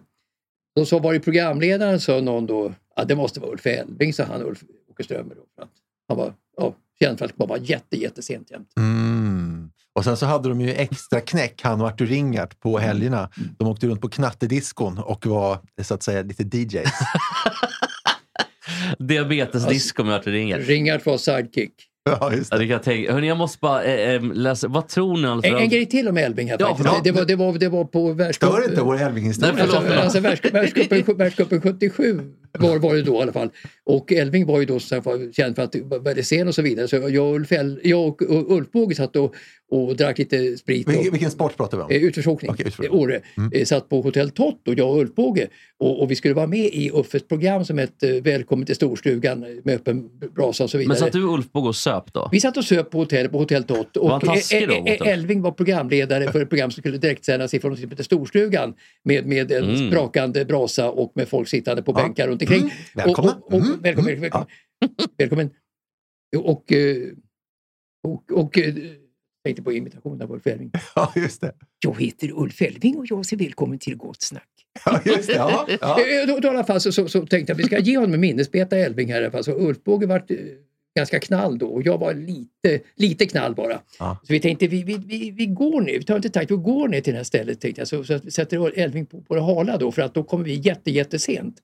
B: de som var i programledaren sa någon då, ja det måste vara Ulf Elving, sa han, Ulf Åke Strömmer. Då, för att han var ja, känd för att komma jätte, jättesent jämt.
A: Mm. Och sen så hade de ju extra knäck, han och Artur Ringart, på helgerna. De åkte runt på knattediskon och var eh, så att säga lite DJ.
C: Diabetesdisco om jag hörde det ringer.
B: Ringart var sidekick.
A: ja, just
C: Ja,
A: det.
C: det kan jag tänka. Hörrni, jag måste bara eh, eh, läsa. Vad tror ni? Alfred?
B: En, en grej till om Elving här
C: Ja,
B: faktiskt.
A: ja.
B: Det, var, det, var, det var på
A: Stör
B: världscupen.
A: inte vår
C: Nej,
A: Elving-historia.
C: förlåt.
B: Alltså, alltså världscup- världscupen, världscupen 77 var, var det då i alla fall. Och Elving var ju då så här, var känd för att vara väldigt sen och så vidare. Så jag och Ulf, El- jag och och Ulf Båge satt och, och drack lite sprit. Och,
A: Vilken, vilken sport pratar vi om?
B: Eh, Utförsåkning,
A: Okej, utförsåkning. Mm.
B: Eh, Åre. Eh, Satt på Hotell Tott och jag och Ulf Båge. Och, och vi skulle vara med i Uffes program som hette eh, Välkommen till storstugan med öppen brasa och så
C: Men
B: vidare.
C: satt du Ulf Båge och söp då?
B: Vi satt och söp på hotellet på Hotell Tott och
C: Var han taskig då
B: eh, eh,
C: mot oss?
B: Elving var programledare för ett program som skulle direktsändas ifrån något som heter Storstugan med, med en
C: Mm.
B: sprakande brasa och med folk sittande på
A: Ja.
B: bänkar runt omkring.
A: Mm. Välkomna.
B: Och, och, och,
A: Mm.
B: Välkommen! välkommen. välkommen. Och, eh, och, och, eh, tänkte på imitationen av Ulf Elving.
A: Ja, just det.
B: Jag heter Ulf Elving och jag säger välkommen till Gott Snack.
A: Ja, just det. Ja, ja.
B: Eh, Då, då i alla fall så, så, så tänkte jag att vi ska ge honom en minnesbeta Elving här. i alla fall. Så Ulf Båge vart eh, ganska knall då och jag var lite, lite knall bara.
A: Ja.
B: Så vi tänkte vi, vi, vi, vi går nu, vi tar inte takt, vi går ner till det här stället tänkte jag. Så, så att vi sätter Elving på, på det hala då för att då kommer vi jätte, jättesent.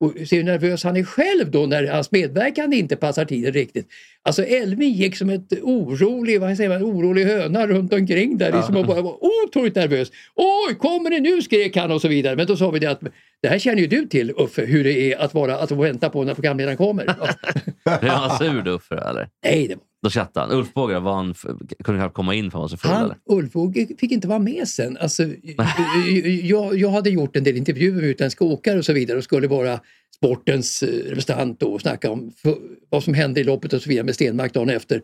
B: Och se hur nervös han är själv då när hans medverkan inte passar tiden riktigt. Alltså Elving gick som ett orolig, vad säger man, orolig höna runt omkring där. Liksom och bara var otroligt nervös. Oj, kommer det nu? skrek han och så vidare. Men då sa vi det att det här känner ju du till Uffe, hur det är att, vara, att vänta på när programledaren kommer. Ja.
C: Blev han sur då för det, eller?
B: Nej, det var
C: Då chattade han. Ulf Bågar var han, kunde knappt komma in för han var så full.
B: Han,
C: Eller?
B: Ulf Åge fick inte vara med sen. Alltså, jag, jag hade gjort en del intervjuer med utländska åkare och så vidare och skulle vara sportens eh, representant då och snacka om f- vad som hände i loppet och så vidare med Stenmark dagen efter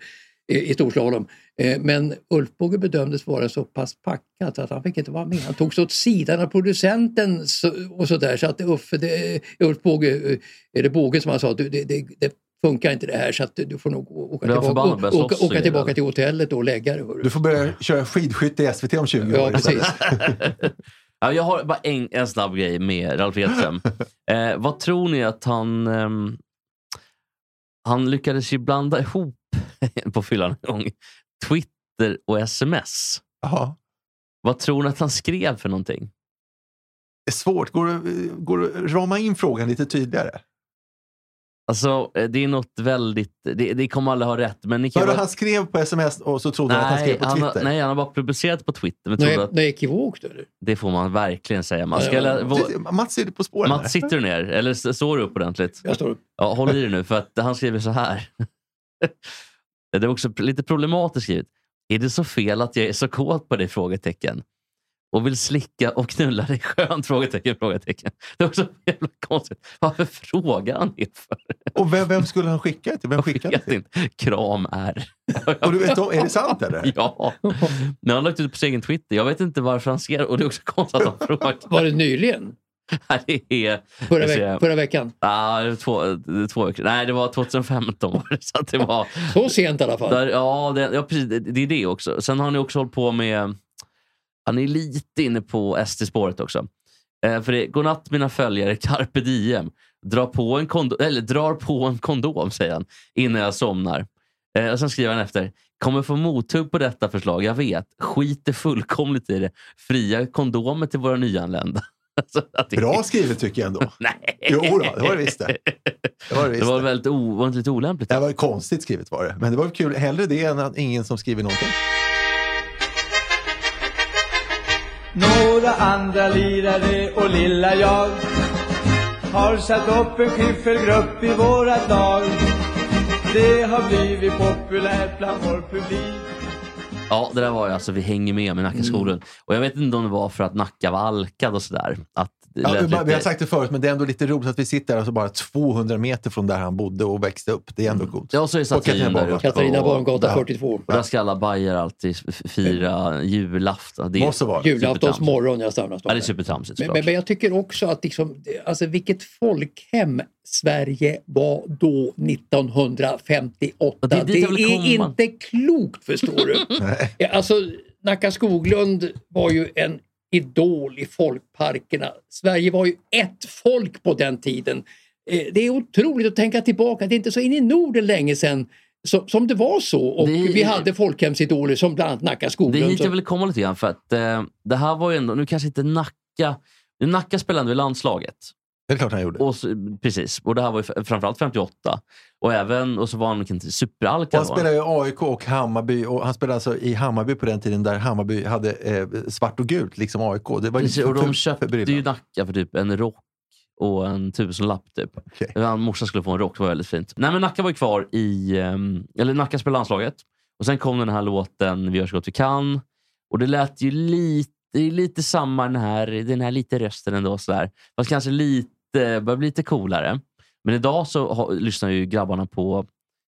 B: eh, i storslalom. Eh, Men Ulf Båge bedömdes vara så pass packad att han fick inte vara med. Han togs åt sidan av producenten så- och sådär så att Uffe, det, Ulf Båge, eh, eller Båge som han sa, du, det, det, det funkar inte det här så att du får nog å- åka
C: Blev han
B: tillbaka,
C: förbannad och började
B: å- åka,
C: slåss och
B: åka tillbaka
C: grejer?
B: till hotellet och lägga dig. hörru.
A: Du får börja köra skidskytte i SVT om 20 år.
B: Ja, precis.
C: Ja, jag har bara en, en snabb grej med Ralf Edström. eh, vad tror ni att han... ehm, han lyckades ju blanda ihop på fyllan en gång Twitter och sms.
A: Jaha.
C: Vad tror ni att han skrev för någonting?
A: Det är svårt. Går det, går det att rama in frågan lite tydligare?
C: Alltså, eh, det är något väldigt... Det, det kommer alla ha rätt, men ni kan...
A: Hörde
C: bara-
A: han skrev på sms och så trodde han att han skrev på
C: han har-
A: Twitter?
C: nej, han har bara publicerat på Twitter. Men
B: Något
C: tror
B: e-
C: att
B: något ekivokt eller?
C: det får man verkligen säga. Man ska,
B: Ja,
C: lä-
B: ja.
C: vå-
A: Precis, Mats är du på spåren
C: Mats,
A: här.
C: sitter du ner? Eller s- står du upp ordentligt?
B: Jag står upp.
C: Ja, håll i dig nu, för att han skriver så här. Det är också lite problematiskt skrivet. Är det så fel att jag är så kåt på dig? Frågetecken. Och vill slicka och knulla dig skönt? Frågetecken, frågetecken. Det är också jävla konstigt. Varför frågar han det för?
A: Och vem, vem skulle han skicka det till? Vem skickade det
C: Vet
A: till?
C: inte. Kram är.
A: Och du vet om, är det sant eller?
C: Ja. Men han har lagt ut på sin egen Twitter. Jag vet inte varför han skrev Och det är också konstigt att han frågar.
B: Var det nyligen?
C: Det är...
B: Förra,
C: Jag ser-
B: veck- förra veckan?
C: Ah, det var två, det var två veckor. Nej, det var 2015. var det, Så att det var...
B: Så sent i alla fall.
C: Där, ja, det, ja, precis. Det, det är det också. Sen har han ju också hållit på med... Han är lite inne på ST-spåret också. Eh, för det är godnatt mina följare, carpe diem. Dra på en kondom, eller drar på en kondom, säger han, innan jag somnar. Eh, och sen skriver han efter. Kommer få mothugg på detta förslag, jag vet. Skiter fullkomligt i det. Fria kondomer till våra nyanlända. Alltså, att det-
A: Bra skrivet tycker jag ändå.
C: Nej.
A: Jo då, det var det visst det. Det var det
C: Det
A: visst
C: var
A: det.
C: väldigt o, var inte lite olämpligt.
A: Det var konstigt skrivet var det. Men det var väl kul. Hellre det än att ingen som skriver någonting.
F: Några andra lirare och lilla jag har satt upp en skiffelgrupp i våra dag. Det har blivit populärt bland vår publik.
C: Ja, det där var ju alltså Vi hänger med med Nackaskolan.
B: Mm.
C: Och jag vet inte om det var för att Nacka var alkad och sådär. Att det
A: Ja,
C: lät
A: vi- Vi har
C: lite-
A: sagt det förut, men det är ändå lite roligt att vi sitter alltså bara 200 meter från där han bodde och växte upp. Det är ändå coolt.
C: Ja, och så är statyn
A: Katarina
C: där
A: Barngatan.
C: uppe.
B: Katarina
C: och-
B: Barngatan
A: Ja.
B: 42.
C: Och där ska alla bajer alltid f- fira julafton. Det är,
A: Måste vara.
B: Julaftons
C: supertramsigt.
B: morgon jag stannar
C: ja, det är supertramsigt
B: men,
C: såklart.
B: men, men jag tycker också att liksom, det- alltså, vilket folkhem Sverige var då 1958.
C: Och det är dit jag vill
B: är
C: komma.
B: inte klokt förstår du.
A: Nej.
B: Ja, Alltså, Nacka Skoglund var ju en idol i folkparkerna. Sverige var ju ett folk på den tiden. Eh, Det är otroligt att tänka tillbaka. Det är inte så in i Norden länge sedan som, som det var så. Och
C: Det är-
B: vi hade folkhemsidoler som bland annat Nacka
C: Det är
B: Skoglund.
C: hit jag
B: som-
C: ville komma lite grann. För att, eh, det här var ju ändå, nu kanske inte Nacka... nu Nacka spelade ändå i landslaget.
A: Det är klart han gjorde. Och
C: Och så, precis, och det här var ju f- framförallt 58. Och, även, och så var han vilken tid? superalkad.
A: han
C: var han.
A: spelade i AIK och Hammarby. Och han spelade alltså i Hammarby på den tiden där Hammarby hade eh, svart och gult, liksom AIK. Det var
C: Precis, och de
A: fult
C: köpte
A: förbryllande.
C: ju Nacka för typ en rock och en tusenlapp. Typ.
A: Okej.
C: Han morsan skulle få en rock, det var väldigt fint. Nej, men Nacka var ju kvar i... ehm, Eller Nacka spelade landslaget. Och sen kom den här låten Vi gör så gott vi kan. Och det lät ju lite, det är lite samma den här, den här lite rösten ändå. Sådär. Fast kanske lite, börjar bli lite coolare. Men idag så har, lyssnar ju grabbarna på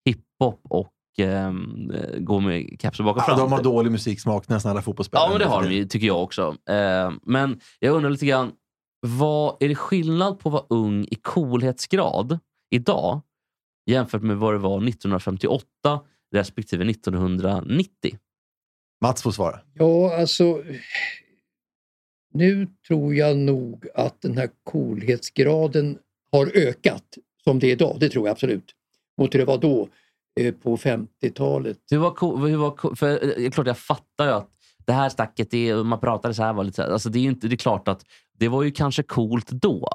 C: hiphop och ehm, går med kepsen bak och
A: Ja,
C: fram.
A: de har
C: typ.
A: dålig musiksmak, nästan alla fotbollsspelare.
C: Ja, men det har de ju, tycker jag också. Eh, men jag undrar lite grann, vad, är det skillnad på att vara ung i coolhetsgrad idag jämfört med vad det var 1958 respektive 1990?
A: Mats får svara.
B: Ja, alltså... Nu tror jag nog att den här coolhetsgraden har ökat som det är idag. Det tror jag absolut. Mot hur det var då. eh, på 50-talet.
C: Hur var, ko- hur var, ko- för, eh, det är klart jag fattar ju att det här snacket, det, är- man pratade så här. Var lite, så här- alltså det, är ju inte, det är klart att det var ju kanske coolt då.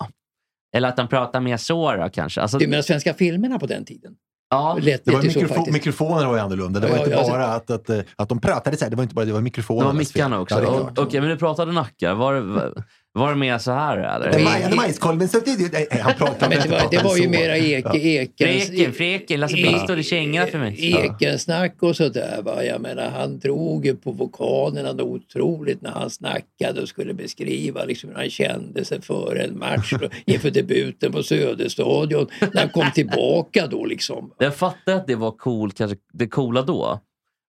C: Eller att han pratade mer så då, kanske. Alltså,
B: Det är med de svenska filmerna på den tiden.
C: ja.
B: Lät
A: Det var
B: lite så
A: mikrofo-
B: faktiskt.
A: mikrofonerna var ju annorlunda. Det var
B: Ja,
A: inte
B: ja, alltså-
A: bara att, att, eh, att de pratade så här. Det var inte bara det, var mikrofonerna.
C: Det var mickarna också.
A: Ja, det är
C: Ja,
A: klart.
C: Okej, men du pratade nackar. Var, var, var det mer så här eller?
A: Den majande majskolven så... det- det- nej, Han
B: Ja,
A: pratade
B: men det, var, det var ju
A: så.
B: mera eke, ekens,
C: Freken, freken. Lasse
B: Ja.
C: Bingstad i kängan för mig.
B: Ekensnack och sådär. Va? Jag menar, han drog ju på vokalerna då otroligt när han snackade och skulle beskriva liksom, hur han kände sig före en match då, inför debuten på Söderstadion. När han kom tillbaka då liksom.
C: Jag fattar att det var cool, kanske det coola då.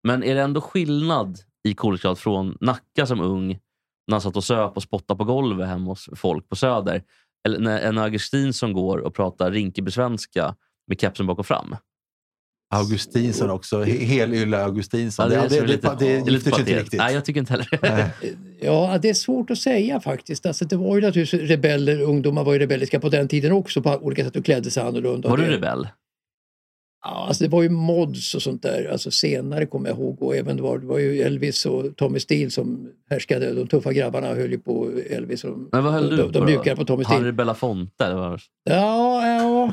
C: Men är det ändå skillnad i coolhetsgrad från Nacka som ung när han satt och söp och spottade på golvet hemma hos folk på Söder? Eller när en Augustin som går och pratar rinkebysvenska med kepsen bak och fram.
A: Augustinsson också. He- Helylle Augustinsson.
C: Ja, det
A: det, det,
C: är som är
A: det,
C: lite-
A: det, det
C: lite
A: gifter sig inte
C: patetiskt.
A: riktigt.
C: Nej, jag tycker inte heller
A: Nej.
B: Ja, det är svårt att säga faktiskt. Alltså, det var ju naturligtvis rebeller, ungdomar var ju rebelliska på den tiden också på olika sätt och klädde sig annorlunda.
C: Var du
B: Det-
C: rebell?
B: Ja, alltså det var ju mods och sånt där. Alltså senare kommer jag ihåg och även det var, det var ju Elvis och Tommy Steele som härskade. De tuffa grabbarna höll ju på Elvis och de,
C: Men vad höll
B: de,
C: du
B: de,
C: på då?
B: mjukare på Tommy
C: Harry
B: Steele.
C: Belafonte? eller vad
B: Ja, ja.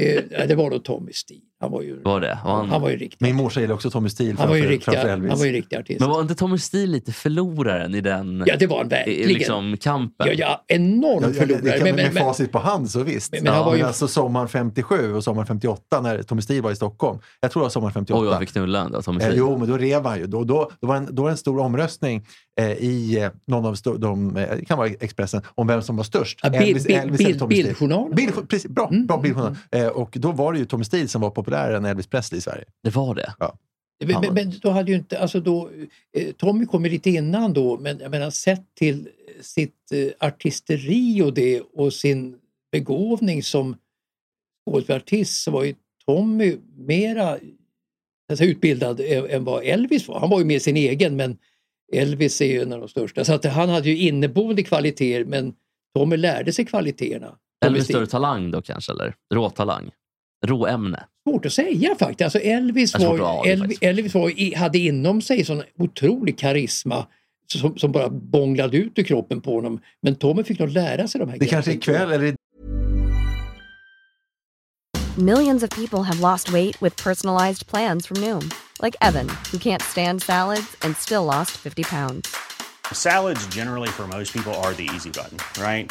B: Eh, ja, det var då Tommy Steele. Han var ju,
C: Var det? Var han...
B: han var ju riktig.
A: Min morsa gillar också Tommy Steele
B: Han var ju en
A: framför,
B: riktig,
A: framför
B: han
A: Elvis.
B: var ju en riktig artist.
C: Men var inte Tommy Steele lite förloraren i den
B: Ja, det var han
C: i- i
B: verkligen.
C: liksom, kampen?
B: ja, ja, enorm
A: Ja, ja, det- det
B: förlorare.
A: kan,
B: Men,
A: med
B: men, men,
A: facit på hand så visst.
B: Men- men han var ju-
A: alltså sommaren 57 och sommaren 58 när Tommy Steele var i Stockholm. Jag tror det var sommaren 58.
C: Oj, jag fick knulla ändå, Tommy
A: Eh,
C: Steele.
A: jo, men då rev han ju. Då, då, då, var en, då var det en stor omröstning eh, i eh, någon av sto- de, eh, det kan vara Expressen, om vem som var störst.
B: Ja, bild- bild-
A: eller
B: bild-
A: Tommy Steele.
B: bildjournalen.
A: Bild, precis, bra, bra bildjournal. Eh, och då var det ju Tommy Steele som var populärare än Elvis Presley i Sverige.
C: Det var det.
B: Men, men, men då hade ju inte, alltså då, eh, Tommy kom ju lite innan då, men jag menar sett till sitt eh, artisteri och det och sin begåvning som skådespelartist så var ju Tommy mera alltså, utbildad ä- än vad Elvis var. Han var ju mer sin egen men Elvis är ju en av de största. Så att han hade ju inneboende kvaliteter men Tommy lärde sig kvaliteterna.
C: Eller
B: Tommy Steele.
C: större talang då kanske? Eller råtalang? Råämne?
B: Svårt att säga faktiskt. Alltså Elvis,
C: Det är svårt
B: var,
C: att
B: ju-
C: avgöra
B: Elvis,
C: faktiskt.
B: Elvis var, ju i- hade inom sig sån otrolig karisma som, som bara bånglade ut ur kroppen på honom. Men Tommy fick nog lära sig de här
A: Det kanske är ikväll eller
G: Millions of people have lost weight with personalized plans from Noom, like Evan, who can't stand salads and still lost 50 pounds.
H: Salads, generally, for most people, are the easy button, right?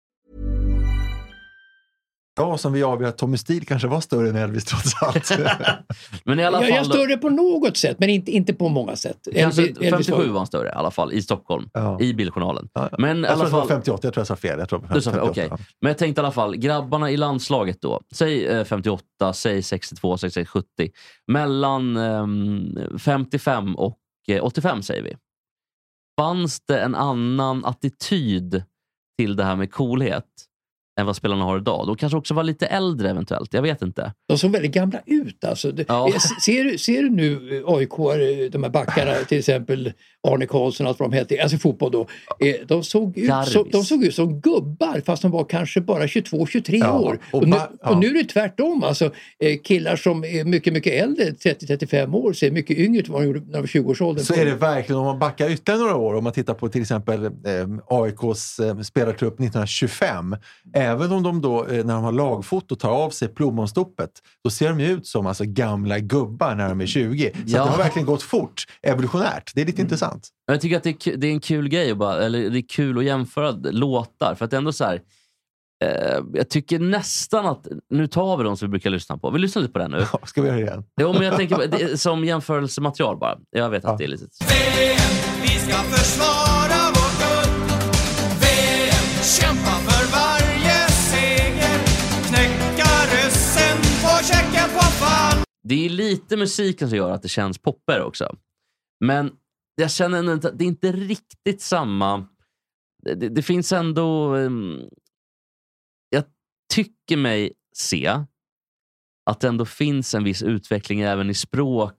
A: idag som vi avgör att Tommy Steele kanske var större än Elvis trots allt.
C: Men i alla
B: Jag,
C: fall...
B: jag
C: då-
B: större på något sätt, men inte, inte på många sätt.
C: Kanske
B: Elvis- Elvis
C: 57
B: var-
C: var han större i alla fall, i Stockholm.
A: Ja.
C: I Bildjournalen.
A: Ja, ja.
C: Men i
A: jag tror
C: alla
A: att det var
C: fall...
A: 58, jag tror jag sa fel. Jag tror det var
C: Du sa fel,
A: 58,
C: okej.
A: ja.
C: Men jag tänkte i alla fall, grabbarna i landslaget då. Säg eh, 58, säg 62, säg säg 70. Mellan ehm, 55 och eh, 85 säger vi. Fanns det en annan attityd till det här med coolhet än vad spelarna har idag? De kanske också var lite äldre eventuellt. Jag vet inte.
B: De såg väldigt gamla ut alltså. Det-
C: Ja.
B: eh, se- Ser, du- ser du nu eh, AIK, eh, de här backarna, till exempel Arne Karlsson och allt vad de hette, alltså i fotboll då. eh, De såg, ut,
C: Jarvis.
B: så, de såg ut som gubbar fast de var kanske bara 22-23
A: Ja,
B: år.
A: och
B: Och nu,
A: ba- ja.
B: och nu är det tvärtom alltså. eh, Killar som är mycket, mycket äldre, 30-35 år, ser mycket yngre ut än vad de gjorde när de var 20-årsåldern.
A: Så är det verkligen om man backar ytterligare några år. Om man tittar på till exempel eh, AIKs eh, spelartrupp 1925. Även om de då, eh, när de har lagfoto, tar av sig plommonstoppet. Då ser de ju ut som alltså, gamla gubbar när de är 20. Så
C: Ja. Mm.
A: att det har verkligen gått fort evolutionärt. Det är lite intressant.
C: Men Jag tycker att det är, ku- det är en kul grej, att bara, eller det är kul att jämföra d- låtar. För att det är ändå så här, Eh, jag tycker nästan att... Nu tar vi de som vi brukar lyssna på. Vi lyssnar lite på den nu.
A: Ska vi göra det igen?
C: Jo, men jag tänker på, det, är som jämförelsematerial bara. Jag vet att det är lite...
I: VM, vi ska försvara vårt guld. VM, kämpa för varje seger. Knäcka ryssen, få Tjeckien på fall.
C: Det är lite musiken som gör att det känns poppigare också. Men jag känner ändå inte att det är inte riktigt samma... Det, det, det finns ändå... ehm, jag tycker mig se att det ändå finns en viss utveckling även i språk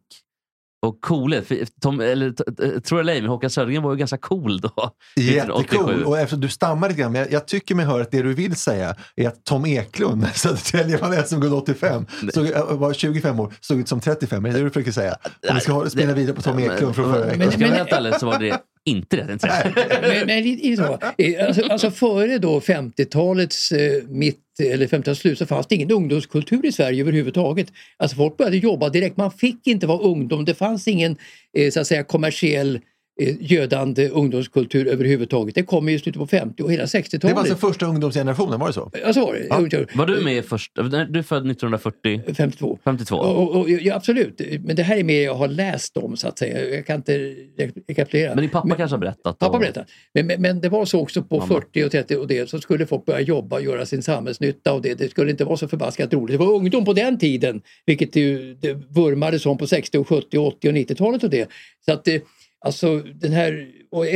C: och coolhet. För Tom, eller, t- t- Tror jag Håkan Södergren var ju ganska cool då. 1987.
A: Jättecool. Och eftersom du stammar lite grann, men jag, jag tycker mig höra att det du vill säga är att Tom Eklund, Södertälje vann SM-guld 85, såg, eh, var 25 år, såg ut som 35. Är det det du försöker säga? Om vi ska ha- spinna vidare på Tom Eklund från förra
C: Men,
A: veckan.
C: ska jag vara helt ärlig så var det inte rätt intresse.
B: Men, men lite lite så. Eh, Alltså, alltså före då 50-talets eh, mitt eller 50-talets slut så fanns det ingen ungdomskultur i Sverige överhuvudtaget. Alltså folk började jobba direkt. Man fick inte vara ungdom. Det fanns ingen eh, så att säga kommersiell eh, gödande ungdomskultur överhuvudtaget. Det kom ju i slutet på 50 och hela 60-talet.
A: Det var alltså första ungdomsgenerationen, var det så?
B: Ja, så var det. Ungdom-
C: Var du med först? nej, Du är född 1940?
B: 52.
C: 52.
B: Och, och, och, ja, absolut, men det här är mer jag har läst om så att säga. Jag kan inte re- rekapitulera.
C: Men din pappa kanske har berättat?
B: Pappa
C: om-
B: berättar. Men, men, men det var så också på
C: Mamma.
B: 40 och 30 och det så skulle folk börja jobba och göra sin samhällsnytta och det, det skulle inte vara så förbaskat roligt. Det var ungdom på den tiden, vilket det ju, det vurmades om på 60 och 70 och 80 och 90-talet och det. Så att det, alltså den här och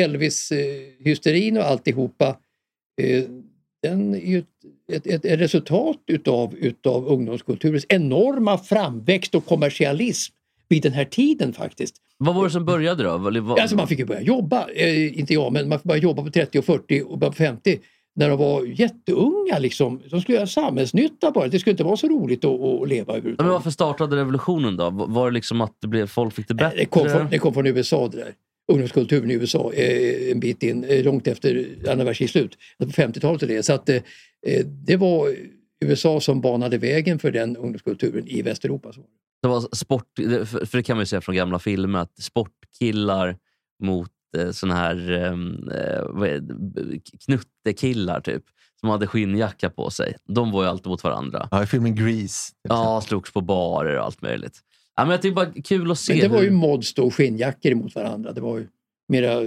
B: Elvis-hysterin och alltihopa eh, den är ju ett, ett, ett, ett resultat utav, utav ungdomskulturens enorma framväxt och kommersialism vid den här tiden faktiskt.
C: Vad var det som började då? Vad- vad-
B: Alltså man fick ju börja jobba, eh, inte jag, men man fick börja jobba på 30 och 40 och börja på 50 när de var jätteunga. Liksom. De skulle göra samhällsnytta bara. Det skulle inte vara så roligt att, att leva överhuvudtaget.
C: Ja, Men varför startade revolutionen då? Var var det liksom att det blev, folk
A: Eh,
C: fick det bättre?
B: Det kom, från, det kom från USA det där. Ungdomskulturen i USA eh, en bit in, eh, långt efter andra världskrigets slut. Alltså På 50-talet och det. Så att, eh, eh, det var USA som banade vägen för den ungdomskulturen i Västeuropa. Så.
C: Det var sport, det- för för det kan man ju se från gamla filmer, att sportkillar mot eh, såna här ehm, eh, vad är det, b- knuttekillar typ, som hade skinnjacka på sig. De var ju alltid mot varandra.
A: Ja, i filmen Grease.
C: Ja, slogs på barer och allt möjligt. Ja, men jag tycker bara kul att se.
B: Men det var ju
C: hur-
B: mods då, och skinnjackor mot varandra. Det var ju mera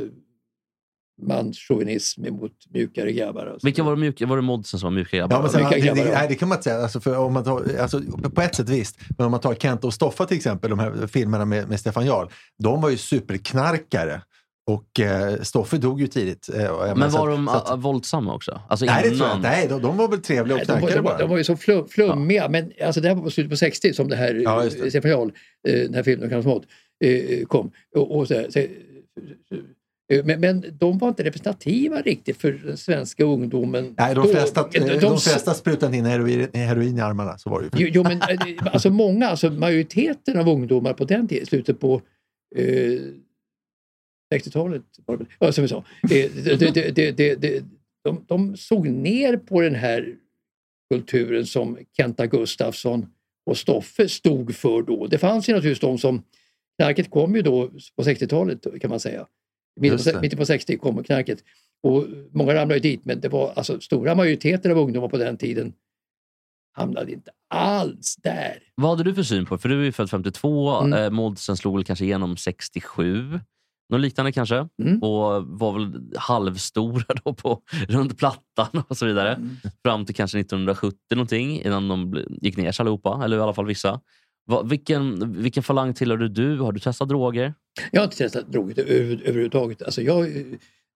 B: manschauvinism mot mjukare grabbar. och så.
C: Vilka var de mjuka? Var det modsen som var mjuka grabbar?
A: Ja, men sen,
B: Vilka
A: det, det,
B: grabbar?
A: nej, det kan man inte säga. Alltså, för om man tar, alltså, på ett sätt visst, men om man tar Kent och Stoffa till exempel, de här filmerna med, med Stefan Jarl, de var ju superknarkare. Och eh, Stoffe dog ju tidigt. Eh, och-
C: Men
A: så
C: var
A: att-
C: de
A: så att-
C: a- våldsamma också? Alltså
A: Nej, det tror jag
C: innan-
A: inte. Nej, de, de var väl trevliga och
B: Nej, de, var,
A: knarkade
B: de, var,
A: bara.
B: de var ju så flum, flummiga, men alltså det här var på slutet på 60 som det här
A: Ja,
B: ja,
A: just det.
B: Stefan Jarl, eh, den här filmen om mat, eh, kom. Och, och så här, så, eh, men, men de var inte representativa riktigt för den svenska ungdomen.
A: Nej, de
B: då.
A: flesta, eh,
B: Men
A: de, flesta sprutade in heroin, heroin i armarna. Så var det ju.
B: Jo, jo, men eh, alltså många, alltså majoriteten av ungdomar på den tiden, slutet på eh, 60-talet, var det väl? ja, som vi sa, eh, det, det, det, det, det, det, de, de såg ner på den här kulturen som Kenta Gustafsson och Stoffe stod för då. Det fanns ju naturligtvis de som, knarket kom ju då på 60-talet kan man säga.
A: Just det.
B: Mitten på, mitten på 60 kom knarket. Och många ramlade ju dit, men det var alltså stora majoriteter av ungdomar på den tiden hamnade inte alls där.
C: Vad hade du för syn på det? För du är ju född 52.
B: Mm.
C: Eh, Modsen slog väl kanske igenom 67. Något liknande kanske.
B: Mm.
C: Och var väl halvstora då på, runt plattan och så vidare.
A: Mm.
C: Fram till kanske 1970 någonting innan de bl- gick ner sig allihopa. Eller i alla fall vissa. Va, vilken, vilken falang tillhörde du? Har du testat droger?
B: Jag har inte testat droger över, överhuvudtaget. Alltså jag,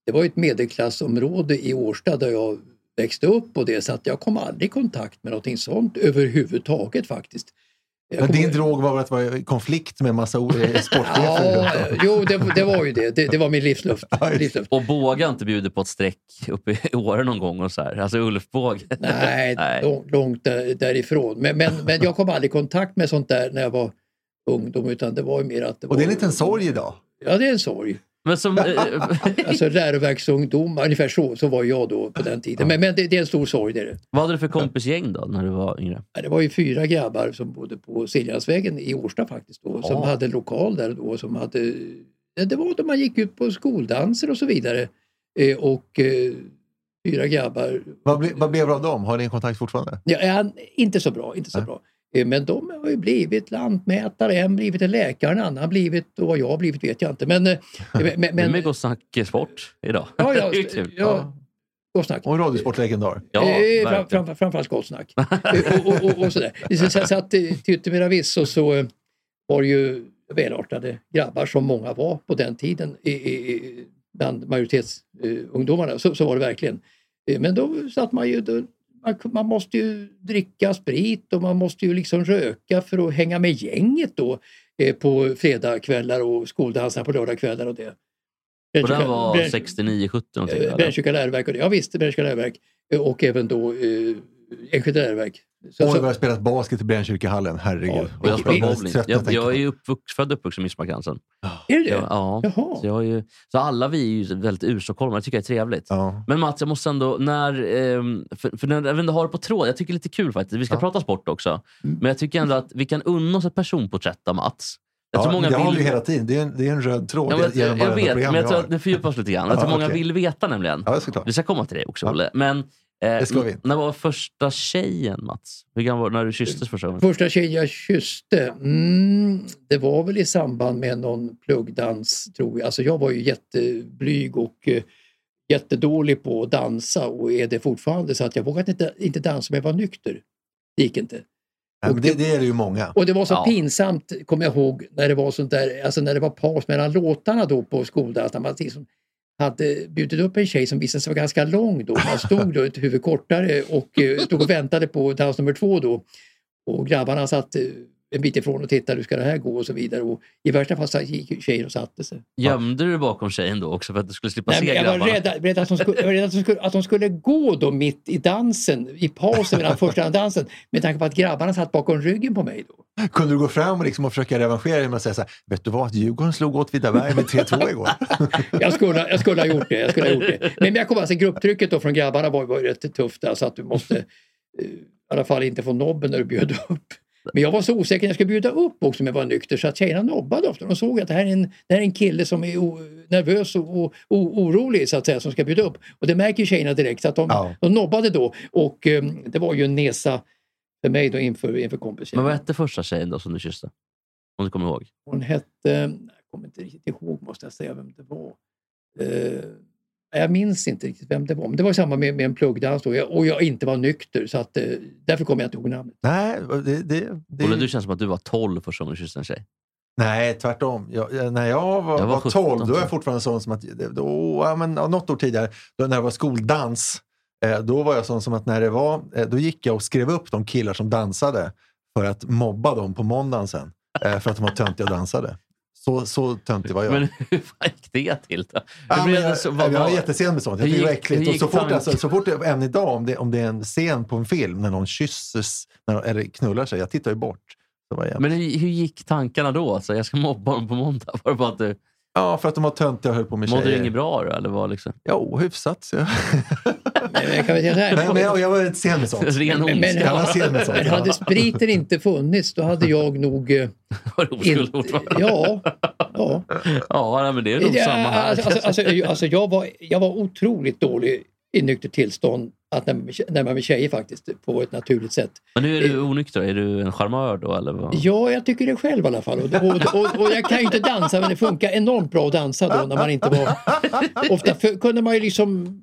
B: det var ju ett medelklassområde i Årsta där jag växte upp och det så att jag kom aldrig i kontakt med någonting sånt överhuvudtaget faktiskt. Jag
A: Men
B: kommer-
A: din drog var väl att vara i konflikt med massa o- eh, sportchefer?
B: Ja, jo, det, det var ju det. Det, det var min livsluft. livsluft.
C: Och båga inte bjuder på ett streck uppe i Åre någon gång? Och så här. Alltså Ulfbåge.
B: Nej,
C: Nej.
B: Långt, långt där, därifrån. Men, men, men jag kom aldrig i kontakt med sånt där när jag var ungdom utan det var ju mer att... Det var,
A: Och det är en liten sorg idag.
B: Ja, det är en sorg.
C: Men som, eh,
B: Alltså läroverksungdomar, ungefär så, så var jag då på den tiden. Men, men det, det är en stor sorg. Det, är det.
C: vad hade du för kompisgäng då när du var yngre?
B: Nej, det var ju fyra grabbar som bodde på Siljansvägen i Årsta faktiskt då, som
C: Ja.
B: hade en lokal där då. Som hade, det var då man gick ut på skoldanser och så vidare. Eh, och eh, fyra grabbar.
A: Vad, ble, vad blev det av dem? Har ni kontakt fortfarande?
B: Ja, ja, inte så bra, inte så bra. Eh, Men de har ju blivit lantmätare, en blivit en läkare, en annan blivit och vad jag har blivit vet jag inte. Men, eh, men, men,
C: Men, med Gott Snack Sport idag.
B: Ja, ja,
C: det är ju kul.
B: ja. Gott snack.
A: Och en radiosportlegendar.
C: Ja,
B: eh, fram,
C: verkligen.
B: fram, framförallt gott snack. Eh, och, och, och, och sådär. Så, så, så att, eh, till yttermera visso så eh, var det ju välartade grabbar som många var på den tiden i, i, i- bland majoritetsungdomarna. Så, så var det verkligen. Eh, Men då satt man ju... Då, man, ku- man måste ju dricka sprit och man måste ju liksom röka för att hänga med gänget då eh, på fredagskvällar och skoldansar på lördagskvällar och det.
C: Och den var
B: Brännkyrka-
C: 69-70 någonting?
B: Eh,
C: eller?
B: Brännkyrka läroverk. och det. Ja visst, Brännkyrka läroverk. Eh, Och även då eh, Enskilda läroverk. Så,
A: Oj, vad
B: så,
A: jag har spelat basket i Brännkyrkahallen. Herregud.
C: Och jag spelar
A: alldeles
C: bowling.
A: trött när jag
C: Jag,
A: tänker
C: jag
A: på
C: är
A: det.
C: ju uppvux, född och uppvuxen i Midsommarkransen.
B: är det det?
C: Ja. Så, jag har ju, så alla vi är ju väldigt urstockholmare. Det tycker jag är trevligt. Men Mats, jag måste ändå... När, ehm, för, för när, jag vet inte, har det på tråd. Jag tycker det är lite kul faktiskt. Vi ska prata sport också.
A: Mm.
C: Men jag tycker ändå att vi kan unna oss ett personporträtt av Mats. Jag
A: Ja,
C: tror
A: det har vi ju
C: vill-
A: hela tiden. Det är en, det är en röd tråd
C: Ja, men, jag,
A: genom varenda
C: vet,
A: program
C: men jag
A: vi
C: tror
A: har.
C: att nu fördjupar oss lite grann. Jag
A: Ja,
C: tror många
A: okej.
C: vill veta nämligen. vi ska komma till det också, Olle. Men, eh,
A: ska vi.
C: n- När var första tjejen, Mats? Hur gammal var du när du kysstes första gången?
B: Första tjejen jag kysste, mm, det var väl i samband med någon pluggdans tror jag. Alltså jag var ju jätteblyg och eh, jättedålig på att dansa och är det fortfarande så att jag vågade inte, inte dansa om jag var nykter. Det gick inte.
A: Ja, men det, det är det ju många.
B: Och det var så
A: Ja.
B: pinsamt, kommer jag ihåg, när det var sånt där, alltså när det var paus mellan låtarna då på skoldans. När man liksom hade bjudit upp en tjej som visade sig vara ganska lång då. Man stod då ett huvud kortare och eh, stod och väntade på dans nummer två då. Och grabbarna satt eh, en bit ifrån och tittade, hur ska det här gå och så vidare. Och I värsta fall så gick tjejen och satte sig.
C: Gömde du dig bakom tjejen då också för att du skulle slippa
B: Nej,
C: se
B: men jag var
C: grabbarna?
B: rädd, rädd, att, de skulle, jag var rädd att, de skulle, att de skulle gå då mitt i dansen, i pausen mellan första dansen. Med tanke på att grabbarna satt bakom ryggen på mig. Då.
A: Kunde du gå fram och, liksom och försöka revanschera dig med att säga så här, vet du vad, att Djurgården slog åt Vidaberg med 3-2 igår.
B: Jag skulle, jag skulle ha gjort det. Jag skulle ha gjort det. Men men jag kommer alltså, grupptrycket då från grabbarna var, var ju rätt tufft. Alltså att du måste eh, i alla fall inte få nobben när du bjöd upp. Men jag var så osäker när jag skulle bjuda upp också om jag var nykter så att tjejerna nobbade ofta. De såg att det här är en, det här är en kille som är o, nervös och, o, o, orolig så att säga som ska bjuda upp. Och det märker ju tjejerna direkt. Så att de, de nobbade då och eh, det var ju en nesa för mig då inför, inför kompisen.
C: Men vad hette första tjejen då som du kysste? Om du kommer ihåg?
B: Hon hette, jag kommer inte riktigt ihåg måste jag säga vem det var. Eh, jag minns inte riktigt vem det var, men det var i samband med, med en pluggdans då, jag, och jag inte var nykter så att, eh, därför kommer jag inte ihåg namnet.
A: Nej, det, det, det...
C: Olle, du känns som att du var 12 första gången du kysste en tjej.
A: Nej, tvärtom. Jag, jag- när jag var,
C: Jag var
A: var, 12,
C: 17.
A: då var jag fortfarande sån som att, då, ja, men, ja, något år tidigare, då, när det var skoldans, eh, då var jag sån som att när det var, eh, då gick jag och skrev upp de killar som dansade för att mobba dem på måndagen sen, eh, för att de var töntiga och dansade. Så, så töntig var jag.
C: Men hur fan gick det till då?
A: Ja,
C: Hur blev
A: men
C: det
A: jag,
C: så- vad-
A: jag var
C: vad-
A: jättesen med sånt. Jag
C: hur
A: tycker det var
C: gick- hur
A: äckligt. Och
C: gick
A: så, fort,
C: tanken?
A: alltså, så fort, det- än idag, om det, om det är en scen på en film när någon kysses när, någon- eller knullar sig, jag tittar ju bort. Så var jag,
C: Men hur, hur gick tankarna då? Alltså, jag ska mobba dem på måndag. Var det bara att du
A: ja, för att de var töntiga och höll på med
C: mådde du
A: tjejer.
C: inget bra då? Eller var liksom...
A: Jo, hyfsat. Så jag.
B: Men jag kan väl säga så här.
A: men, men jag, jag var inte sen med sånt.
C: Ren
B: Men, men,
A: Jag var sen med sånt.
B: men hade spriten inte funnits då hade jag nog... eh,
C: Var oskuld mot varandra?
B: Ja, ja.
C: Ja, nej, men det är nog
B: Ja,
C: samma här.
B: Alltså, alltså, alltså, alltså, jag, var, jag var otroligt dålig i nykter tillstånd att närma mig- närma mig tjejer faktiskt på ett naturligt sätt.
C: Men nu är du onykter. Är du en charmör då? Eller vad?
B: Ja, jag tycker det själv i alla fall. Och, och, och, och jag kan ju inte dansa men det funkar enormt bra att dansa då när man inte var... Ofta för, kunde man ju liksom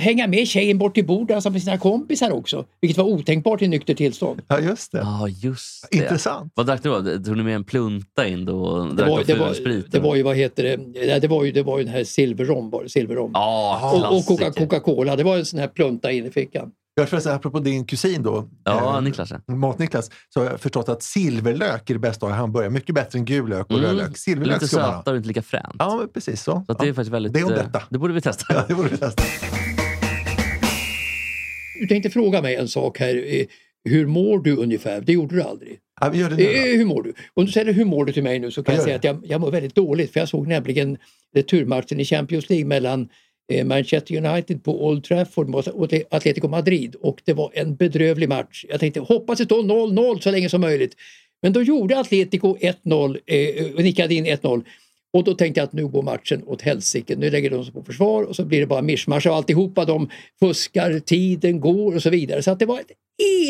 B: hänga med tjejen bort till bordet och dansa med sina kompisar också. Vilket var otänkbart i nykter tillstånd.
A: Ja, just det.
C: Ja, just det.
A: Intressant.
C: Vad drack du då? Tog ni med en plunta in då? och
B: Det
C: drack
B: var,
C: då
B: det, var,
C: fulsprit,
B: det
C: eller?
B: var ju, vad heter det, Nej, det var ju, det var ju den här silverrom. var det, silverrom.
C: Ja,
B: och och Coca-
C: klassiker.
B: Coca-Cola, det var en sån här plunta in i fickan.
A: Jag får säga, apropå din kusin då.
C: Ja,
A: eh,
C: Niklas, ja.
A: Mat-Niklas. Så har jag förstått att silverlök är det bästa att ha i hamburgare. Mycket bättre än gul lök och
C: Mm.
A: röd lök. Silverlök
C: Lite
A: ska man ha.
C: sötare och inte lika fränt.
A: Ja, men precis så.
C: Så att det är
A: Ja.
C: faktiskt väldigt...
A: Det är om
C: eh,
A: detta.
C: Det borde vi testa.
A: Ja, det borde vi testa.
B: Du tänkte fråga mig en sak här. eh, Hur mår du ungefär? Det gjorde du aldrig.
A: Ja, vi gör det nu då.
B: Eh, Hur mår du? Om du säger hur mår du till mig nu så kan
A: Ja,
B: jag
A: gör
B: säga att jag, jag mår väldigt dåligt för jag såg nämligen returmatchen i Champions League mellan eh, Manchester United på Old Trafford mot Atle- Atletico Madrid och det var en bedrövlig match. Jag tänkte hoppas det står 0-0 så länge som möjligt. Men då gjorde Atletico 1-0 eh, och nickade in 1-0 Och då tänkte jag att nu går matchen åt helsike. Nu lägger de sig på försvar och så blir det bara mischmasch av alltihopa. De fuskar, tiden går och så vidare. Så att det var ett